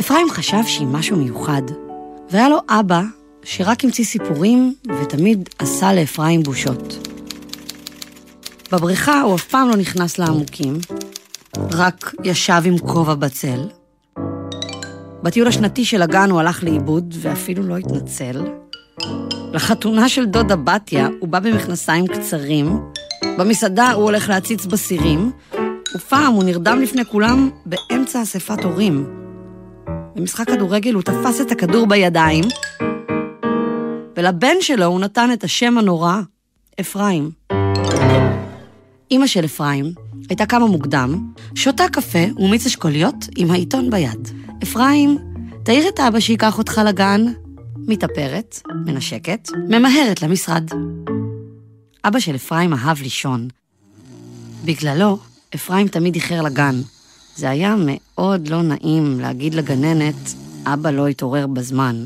F: אפרים חשב שהיא משהו מיוחד, והיה לו אבא שרק המציא סיפורים ותמיד עשה לאפרים בושות. בבריכה הוא אף פעם לא נכנס לעמוקים, רק ישב עם כובע בצל. בטיול השנתי של הגן הוא הלך לאיבוד ואפילו לא התנצל. לחתונה של דודה בתיה הוא בא במכנסיים קצרים, במסעדה הוא הולך להציץ בסירים, ופעם הוא נרדם לפני כולם באמצע אספת הורים. במשחק כדורגל הוא תפס את הכדור בידיים, ולבן שלו הוא נתן את השם הנורא, אפרים. אימא של אפרים הייתה קמה מוקדם, שותה קפה ומיץ אשכוליות עם העיתון ביד. אפרים, תעיר את אבא שייקח אותך לגן. מתאפרת, מנשקת, ממהרת למשרד. אבא של אפרים אהב לישון. בגללו, אפרים תמיד איחר לגן. זה היה מאוד לא נעים להגיד לגננת, אבא לא התעורר בזמן.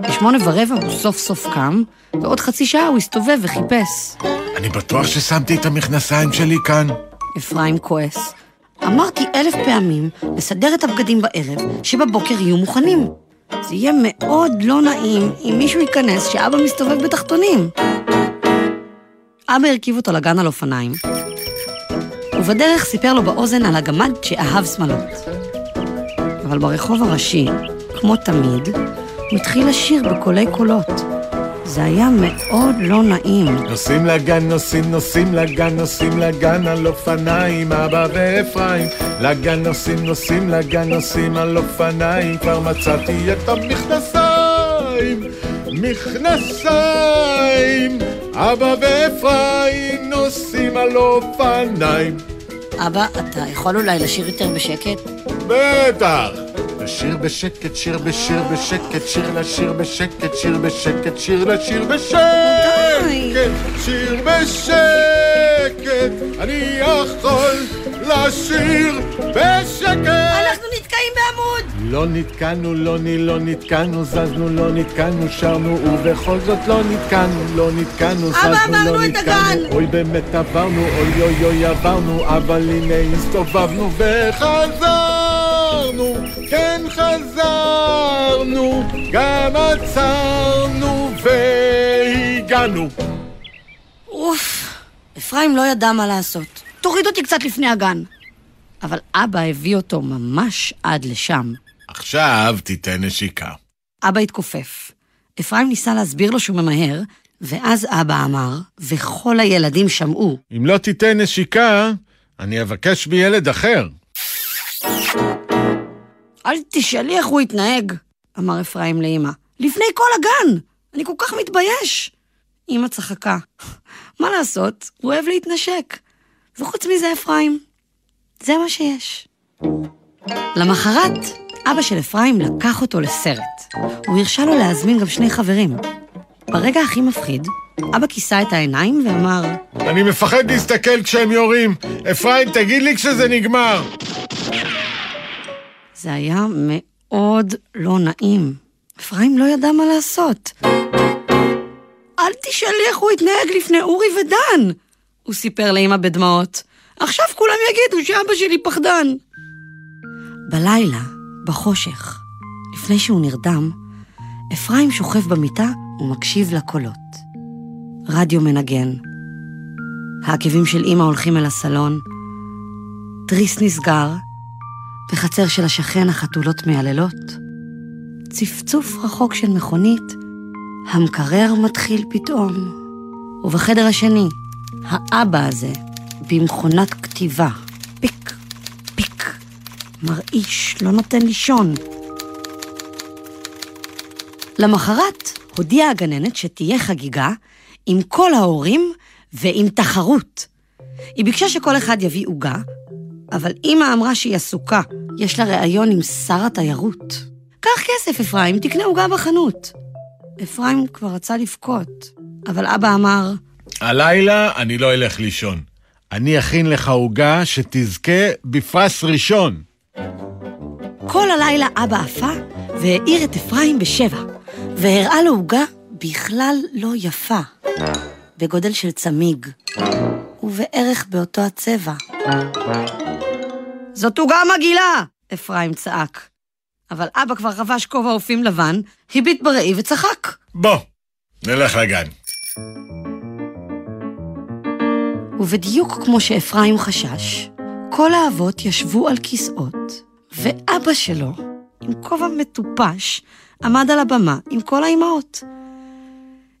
F: בשמונה ורבע הוא סוף סוף קם, ועוד חצי שעה הוא הסתובב וחיפש.
P: אני בטוח ששמתי את המכנסיים שלי כאן.
F: אפרים כועס. אמרתי אלף פעמים לסדר את הבגדים בערב, שבבוקר יהיו מוכנים. זה יהיה מאוד לא נעים אם מישהו ייכנס שאבא מסתובב בתחתונים. אבא הרכיב אותו לגן על אופניים, ובדרך סיפר לו באוזן על הגמד שאהב שמלות. אבל ברחוב הראשי, כמו תמיד, הוא התחיל לשיר בקולי קולות. זה היה מאוד לא נעים.
P: נוסעים לגן, נוסעים, נוסעים לגן, נוסעים לגן על אופניים, אבא ואפרים. לגן נוסעים, נוסעים לגן, נוסעים על אופניים, כבר מצאתי את המכנסיים, מכנסיים. אבא ואפרים נוסעים על אופניים.
F: אבא, אתה יכול אולי לשיר יותר בשקט?
P: בטח! שיר בשקט, שיר בשיר בשקט, שיר לשיר בשקט, שיר בשקט, שיר לשיר בשקט!
F: כן,
Q: בשקט, שיר בשקט, אני יכול לשיר בשקט.
F: אנחנו נתקעים בעמוד!
P: לא נתקענו, לא נ... לא נתקענו, זזנו, לא נתקענו, שרנו, ובכל זאת לא נתקענו, לא נתקענו,
F: אבא,
P: זזנו,
F: עברנו
P: לא
F: את
P: נתקענו.
F: הגן.
P: אוי, באמת עברנו, אוי אוי אוי עברנו, אבל הנה הסתובבנו
Q: חזרנו, כן חזרנו, גם עצרנו והגענו.
F: אוף, אפרים לא ידע מה לעשות. תוריד אותי קצת לפני הגן. אבל אבא הביא אותו ממש עד לשם.
R: עכשיו תיתן נשיקה.
F: אבא התכופף. אפרים ניסה להסביר לו שהוא ממהר, ואז אבא אמר, וכל הילדים שמעו,
P: אם לא תיתן נשיקה, אני אבקש מילד אחר.
F: אל תשאלי איך הוא התנהג, אמר אפרים לאמא. לפני כל הגן! אני כל כך מתבייש! אמא צחקה. מה לעשות, הוא אוהב להתנשק. וחוץ מזה, אפרים, זה מה שיש. למחרת, אבא של אפרים לקח אותו לסרט. הוא הרשה לו להזמין גם שני חברים. ברגע הכי מפחיד, אבא כיסה את העיניים ואמר,
P: אני מפחד להסתכל כשהם יורים. אפרים, תגיד לי כשזה נגמר.
F: זה היה מאוד לא נעים. אפרים לא ידע מה לעשות. אל תשאלי איך הוא התנהג לפני אורי ודן! הוא סיפר לאמא בדמעות. עכשיו כולם יגידו שאבא שלי פחדן. בלילה, בחושך, לפני שהוא נרדם, אפרים שוכב במיטה ומקשיב לקולות. רדיו מנגן. העקבים של אמא הולכים אל הסלון. תריס נסגר, בחצר של השכן החתולות מייללות, צפצוף רחוק של מכונית, המקרר מתחיל פתאום. ובחדר השני, האבא הזה, במכונת כתיבה, פיק, פיק, מרעיש, לא נותן לישון. למחרת הודיעה הגננת שתהיה חגיגה עם כל ההורים ועם תחרות. היא ביקשה שכל אחד יביא עוגה, אבל אימא אמרה שהיא עסוקה, יש לה ראיון עם שר התיירות. קח כסף, אפרים, תקנה עוגה בחנות. אפרים כבר רצה לבכות, אבל אבא אמר,
P: הלילה אני לא אלך לישון. אני אכין לך עוגה שתזכה בפרס ראשון.
F: כל הלילה אבא עפה והאיר את אפרים בשבע, והראה לו עוגה בכלל לא יפה, בגודל של צמיג, ובערך באותו הצבע. זאת עוגה מגעילה! אפרים צעק. אבל אבא כבר חבש כובע אופים לבן, הביט בראי וצחק.
R: בוא, נלך לגן.
F: ובדיוק כמו שאפרים חשש, כל האבות ישבו על כיסאות, ואבא שלו, עם כובע מטופש, עמד על הבמה עם כל האימהות.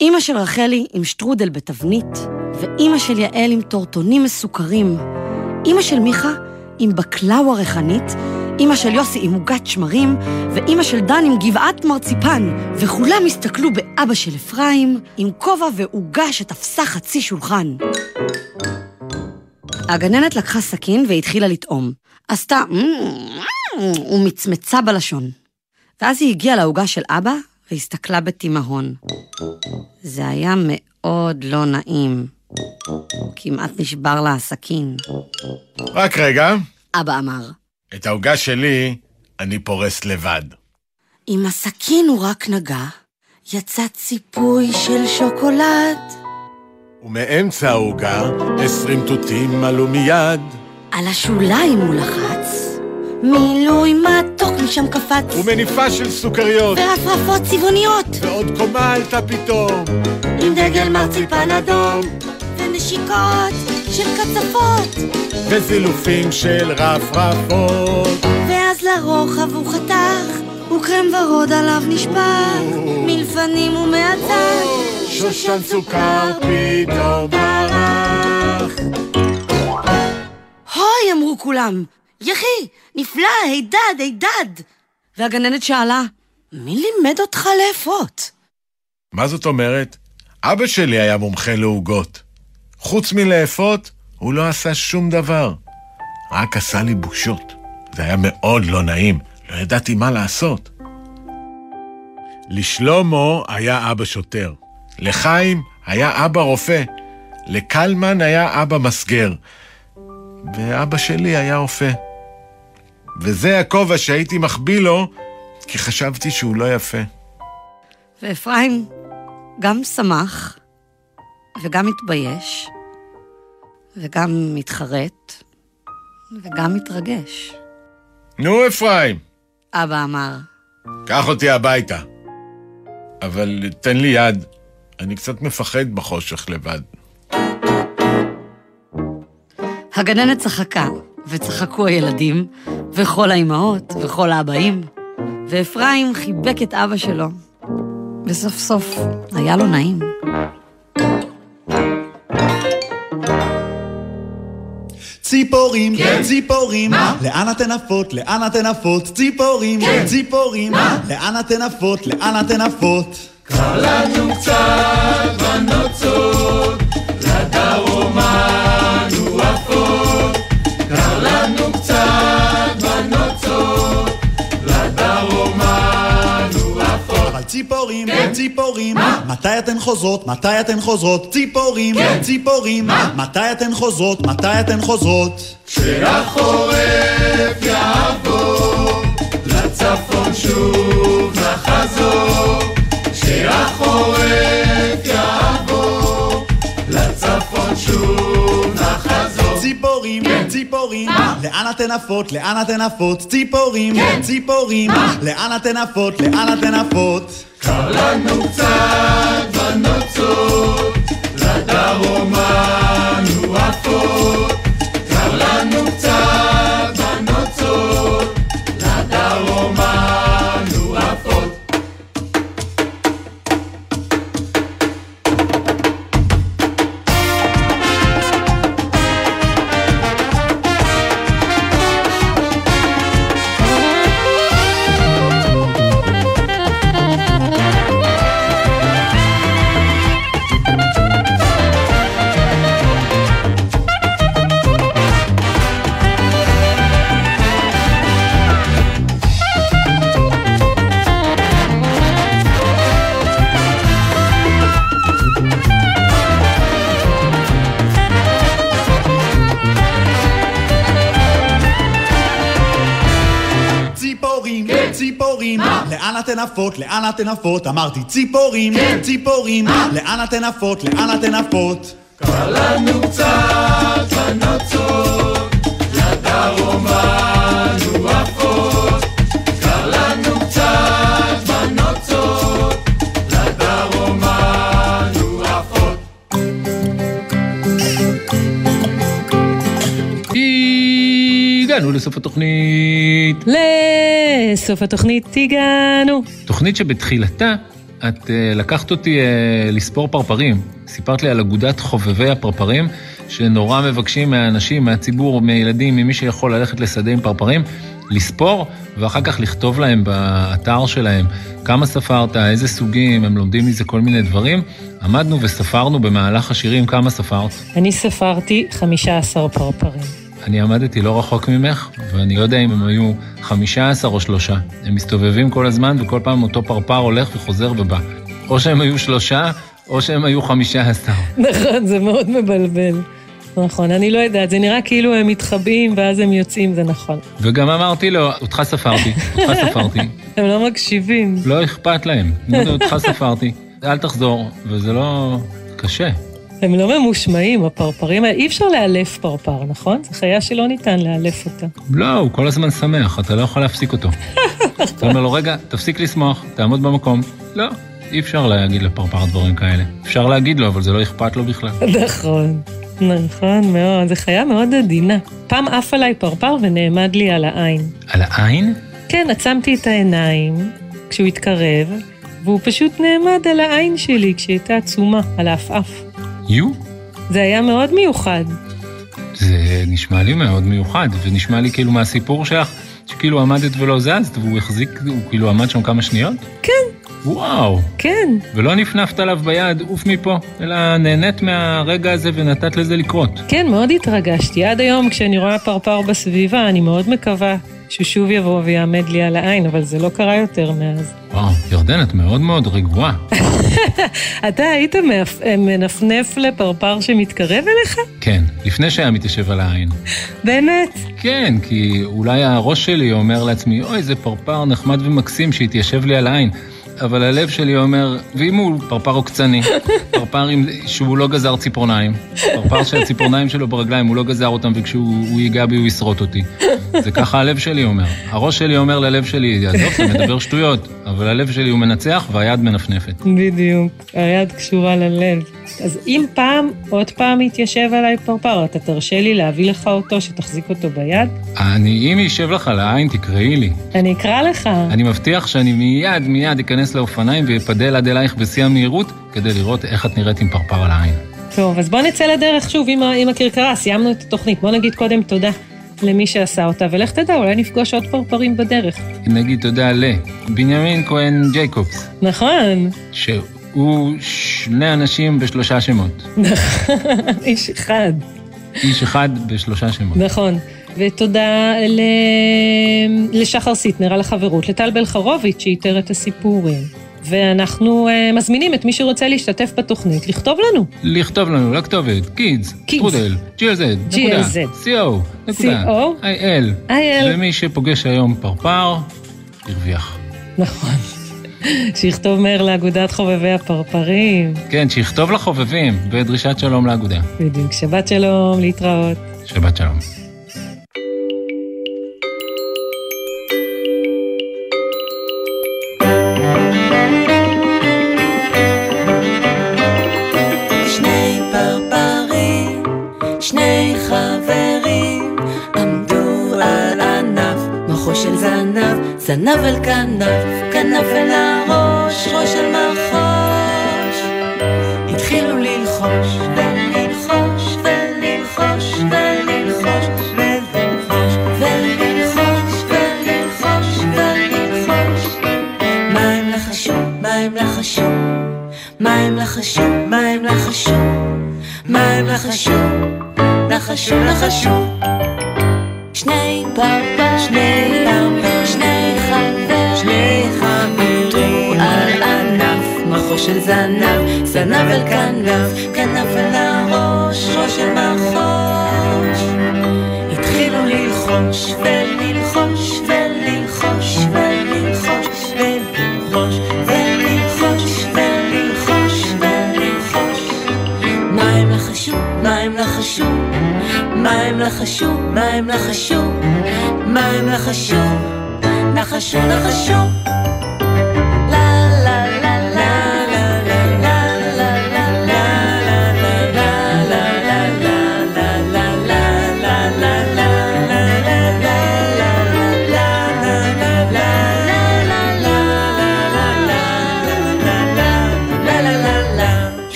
F: אימא של רחלי עם שטרודל בתבנית, ואימא של יעל עם טורטונים מסוכרים, אימא של מיכה עם בקלאווה ריחנית, אימא של יוסי עם עוגת שמרים, ואימא של דן עם גבעת מרציפן, וכולם הסתכלו באבא של אפרים עם כובע ועוגה שתפסה חצי שולחן. הגננת לקחה סכין והתחילה לטעום. עשתה ומצמצה בלשון. ואז היא הגיעה לעוגה של אבא והסתכלה בתימהון. זה היה מאוד לא נעים. כמעט נשבר לה הסכין.
R: רק רגע,
F: אבא אמר,
R: את העוגה שלי אני פורס לבד.
F: אם הסכין הוא רק נגע, יצא ציפוי של שוקולד.
P: ומאמצע העוגה, עשרים תותים עלו מיד.
F: על השוליים הוא לחץ, מילוי מתוק משם קפץ.
P: ומניפה של סוכריות.
F: ורפרפות צבעוניות.
P: ועוד קומה עלתה פתאום.
F: עם דגל מרציפן אדום. ונשיקות של קצפות.
P: וזילופים של רפרפות.
F: ואז לרוחב הוא חתך, וקרם ורוד עליו נשפך. מלפנים ומעצר,
P: שושן סוכר פתאום
F: ברח. הוי! אמרו כולם. יחי! נפלא! הידד! הידד! והגננת שאלה, מי לימד אותך לאפות?
R: מה זאת אומרת? אבא שלי היה מומחה לעוגות. חוץ מלאפות, הוא לא עשה שום דבר. רק עשה לי בושות. זה היה מאוד לא נעים, לא ידעתי מה לעשות.
P: לשלומו היה אבא שוטר. לחיים, היה אבא רופא, לקלמן היה אבא מסגר, ואבא שלי היה רופא. וזה הכובע שהייתי מחביא לו, כי חשבתי שהוא לא יפה.
F: ואפרים גם שמח, וגם התבייש, וגם מתחרט, וגם מתרגש.
P: נו, אפרים,
F: אבא אמר,
P: קח אותי הביתה. אבל תן לי יד, אני קצת מפחד בחושך לבד.
F: הגננת צחקה, וצחקו הילדים, וכל האימהות, וכל האבאים, ואפרים חיבק את אבא שלו, וסוף סוף היה לו נעים.
S: ציפורים, כן, ציפורים, מה? לאן אתן עפות? לאן אתן עפות? ציפורים, כן, ציפורים, מה? לאן אתן עפות? לאן אתן עפות?
B: קר לנו קצת בנוצות, לדרום אנו עפות. קר לנו קצת בנוצות, לדרום אנו עפות.
S: אבל ציפורים, כן, ציפורים, מתי אתן חוזרות? מתי אתן חוזרות? ציפורים,
B: כן.
S: ציפורים, מתי אתן חוזרות? מתי אתן חוזרות?
B: כן. כשהחורף יעבור, לצפון שוב נחזור. כשהחורף יעבור, לצפון שוב נחזור.
S: ציפורים,
B: כן.
S: ציפורים, לאן אתן עפות? לאן אתן עפות? ציפורים,
B: כן.
S: ציפורים,
B: מה?
S: לאן אתן עפות? לאן אתן עפות?
B: קר לנו קצת בנוצות, לדרום אנו עפות. קר לנו קצת בנוצות, לדרום אנו עפות.
S: ציפורים,
B: כן.
S: ציפורים, לאן אתן עפות? לאן אתן עפות? אמרתי ציפורים,
B: כן.
S: ציפורים, לאן אתן עפות? לאן אתן עפות?
B: קר לנו קצת בנוצות, לדרום אנו עפות. קר לנו קצת בנוצות, לדרום אנו עפות.
C: הגענו לסוף התוכנית.
D: לסוף התוכנית הגענו.
C: תוכנית שבתחילתה את אה, לקחת אותי אה, לספור פרפרים. סיפרת לי על אגודת חובבי הפרפרים, שנורא מבקשים מהאנשים, מהציבור, מהילדים, ממי שיכול ללכת לשדה עם פרפרים, לספור, ואחר כך לכתוב להם באתר שלהם כמה ספרת, איזה סוגים, הם לומדים מזה כל מיני דברים. עמדנו וספרנו במהלך השירים כמה ספרת.
D: אני ספרתי 15 פרפרים.
C: אני עמדתי לא רחוק ממך, ואני לא יודע אם הם היו 15 או שלושה. הם מסתובבים כל הזמן, וכל פעם אותו פרפר הולך וחוזר ובא. או שהם היו שלושה, או שהם היו 15.
D: נכון, זה מאוד מבלבל. נכון, אני לא יודעת, זה נראה כאילו הם מתחבאים ואז הם יוצאים, זה נכון.
C: וגם אמרתי לו, אותך ספרתי, אותך ספרתי.
D: הם לא מקשיבים.
C: לא אכפת להם. נו, נו, אותך ספרתי. אל תחזור, וזה לא... קשה.
D: הם לא ממושמעים, הפרפרים האלה. אי אפשר לאלף פרפר, נכון? זו חיה שלא ניתן לאלף אותה.
C: לא, הוא כל הזמן שמח, אתה לא יכול להפסיק אותו. אתה אומר לו, רגע, תפסיק לשמוח, תעמוד במקום. לא, אי אפשר להגיד לפרפר דברים כאלה. אפשר להגיד לו, אבל זה לא אכפת לו בכלל.
D: נכון, נכון מאוד. זו חיה מאוד עדינה. פעם עף עליי פרפר ונעמד לי על העין.
C: על העין?
D: כן, עצמתי את העיניים כשהוא התקרב, והוא פשוט נעמד על העין שלי כשהיא הייתה עצומה, על העפעף.
C: יו?
D: זה היה מאוד מיוחד.
C: זה נשמע לי מאוד מיוחד, ונשמע לי כאילו מהסיפור שלך, שכאילו עמדת ולא זזת, והוא החזיק, הוא כאילו עמד שם כמה שניות?
D: כן.
C: וואו.
D: כן.
C: ולא נפנפת עליו ביד, עוף מפה, אלא נהנית מהרגע הזה ונתת לזה לקרות.
D: כן, מאוד התרגשתי. עד היום כשאני רואה פרפר בסביבה, אני מאוד מקווה שהוא שוב יבוא ויעמד לי על העין, אבל זה לא קרה יותר מאז.
C: וואו, ירדן, את מאוד מאוד רגועה.
D: אתה היית מאפ- מנפנף לפרפר שמתקרב אליך?
C: כן, לפני שהיה מתיישב על העין.
D: באמת?
C: כן, כי אולי הראש שלי אומר לעצמי, אוי, זה פרפר נחמד ומקסים שהתיישב לי על העין. אבל הלב שלי אומר, ואם הוא פרפר עוקצני, פרפר עם, שהוא לא גזר ציפורניים, פרפר שהציפורניים שלו ברגליים, הוא לא גזר אותם, וכשהוא הוא ייגע בי הוא ישרוט אותי. זה ככה הלב שלי אומר. הראש שלי אומר ללב שלי, עזוב, אתה מדבר שטויות, אבל הלב שלי הוא מנצח והיד מנפנפת.
D: בדיוק, היד קשורה ללב. אז אם פעם, עוד פעם יתיישב עליי פרפר, אתה תרשה לי להביא לך אותו, שתחזיק אותו ביד?
C: אני, אם יישב לך על העין, תקראי לי.
D: אני אקרא לך.
C: אני מבטיח שאני מיד מיד אכנס לאופניים ואפדל עד אלייך בשיא המהירות כדי לראות איך את נראית עם פרפר על העין.
D: טוב, אז בוא נצא לדרך שוב עם, ה- עם הכרכרה, סיימנו את התוכנית. בוא נגיד קודם תודה למי שעשה אותה, ולך תדע, אולי נפגוש עוד פרפרים בדרך.
C: נגיד תודה לבנימין כהן ג'ייקובס,
D: נכון,
C: שהוא שני אנשים בשלושה שמות.
D: איש אחד.
C: איש אחד בשלושה שמות.
D: נכון. ותודה ל... לשחר סיטנר על החברות, לטל בלחרוביץ' שאיתר את הסיפורים. ואנחנו uh, מזמינים את מי שרוצה להשתתף בתוכנית לכתוב לנו.
C: לכתוב לנו לכתובת kids,
D: Kids.
C: טרודל, glz, נקודה,
D: GLZ.
C: co, נקודה,
D: CO,
C: il,
D: IL.
C: ומי שפוגש היום פרפר, הרוויח.
D: נכון. שיכתוב מהר לאגודת חובבי הפרפרים.
C: כן, שיכתוב לחובבים, בדרישת שלום לאגודה.
D: בדיוק. שבת שלום, להתראות.
C: שבת שלום.
B: שני פרפרים, שני חברים, עמדו על ענף, מחו של זנב, זנב אל כנף, כנף אל הראש, ראש אל מחוש. התחילו ללחוש, וללחוש, וללחוש, וללחוש, וללחוש, וללחוש, וללחוש, וללחוש. מה הם לחשו? מה הם לחשו? מה הם לחשו? מה הם לחשו? מה הם לחשו? לחשו, לחשו. שני פרפר, שני פרפר, שני חבר, שני חברים, על ענף, מחו של זנב, זנב אל כנף, כנף אל הראש, ראש אל מחוש. התחילו ללחוש, וללחוש, וללחוש, וללחוש, וללחוש, וללחוש, וללחוש, וללחוש. מה הם לחשו? מה הם לחשו? מה הם לחשו? מה הם לחשו? מה הם לחשו? נחשו, נחשו. לה, לה, לה, לה, לה, לה, לה, לה, לה, לה, לה, לה, לה, לה, לה, לה, לה, לה,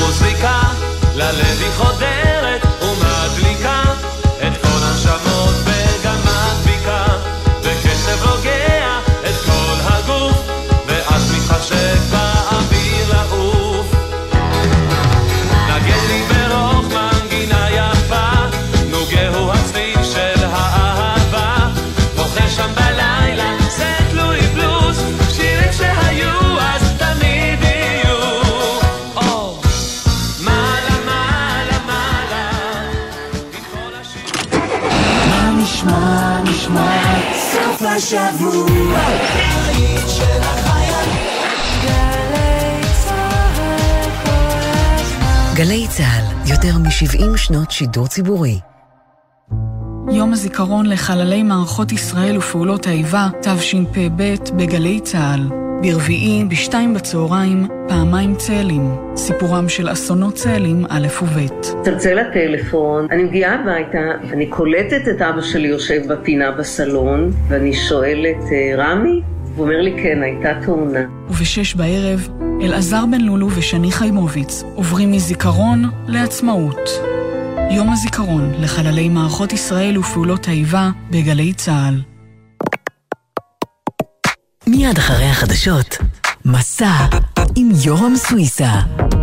T: מוזיקה ללב היא חודרת ומדליקה את כל הנשמות וגם מדביקה בקצב רוגע את כל הגוף ואז מתחשק באוויר לעוף נגן לי ברוך מנגינה יפה נוגהו הצליל של האהבה בוכה שם בלילה זה תלוי בלוז שירים שהיו אז תמיד יהיו Oh. מעלה, מעלה, מעלה.
B: מה נשמע, נשמע, סוף השבוע. היית של החייל. גלי צהל כל הזמן.
A: גלי צה"ל, יותר מ-70 שנות שידור ציבורי.
U: יום הזיכרון לחללי מערכות ישראל ופעולות האיבה, תשפ"ב, בגלי צה"ל. ברביעי, בשתיים בצהריים, פעמיים צאלים. סיפורם של אסונות צאלים א' וב'.
V: מצלצל הטלפון, אני מגיעה הביתה, אני קולטת את אבא שלי יושב בפינה בסלון, ואני שואלת, "אה, רמי? הוא אומר לי, כן, הייתה תאונה.
U: ובשש בערב, אלעזר בן לולו ושני חיימוביץ עוברים מזיכרון לעצמאות. יום הזיכרון לחללי מערכות ישראל ופעולות האיבה בגלי צה"ל.
A: מיד אחרי החדשות, מסע עם יורם סוויסה.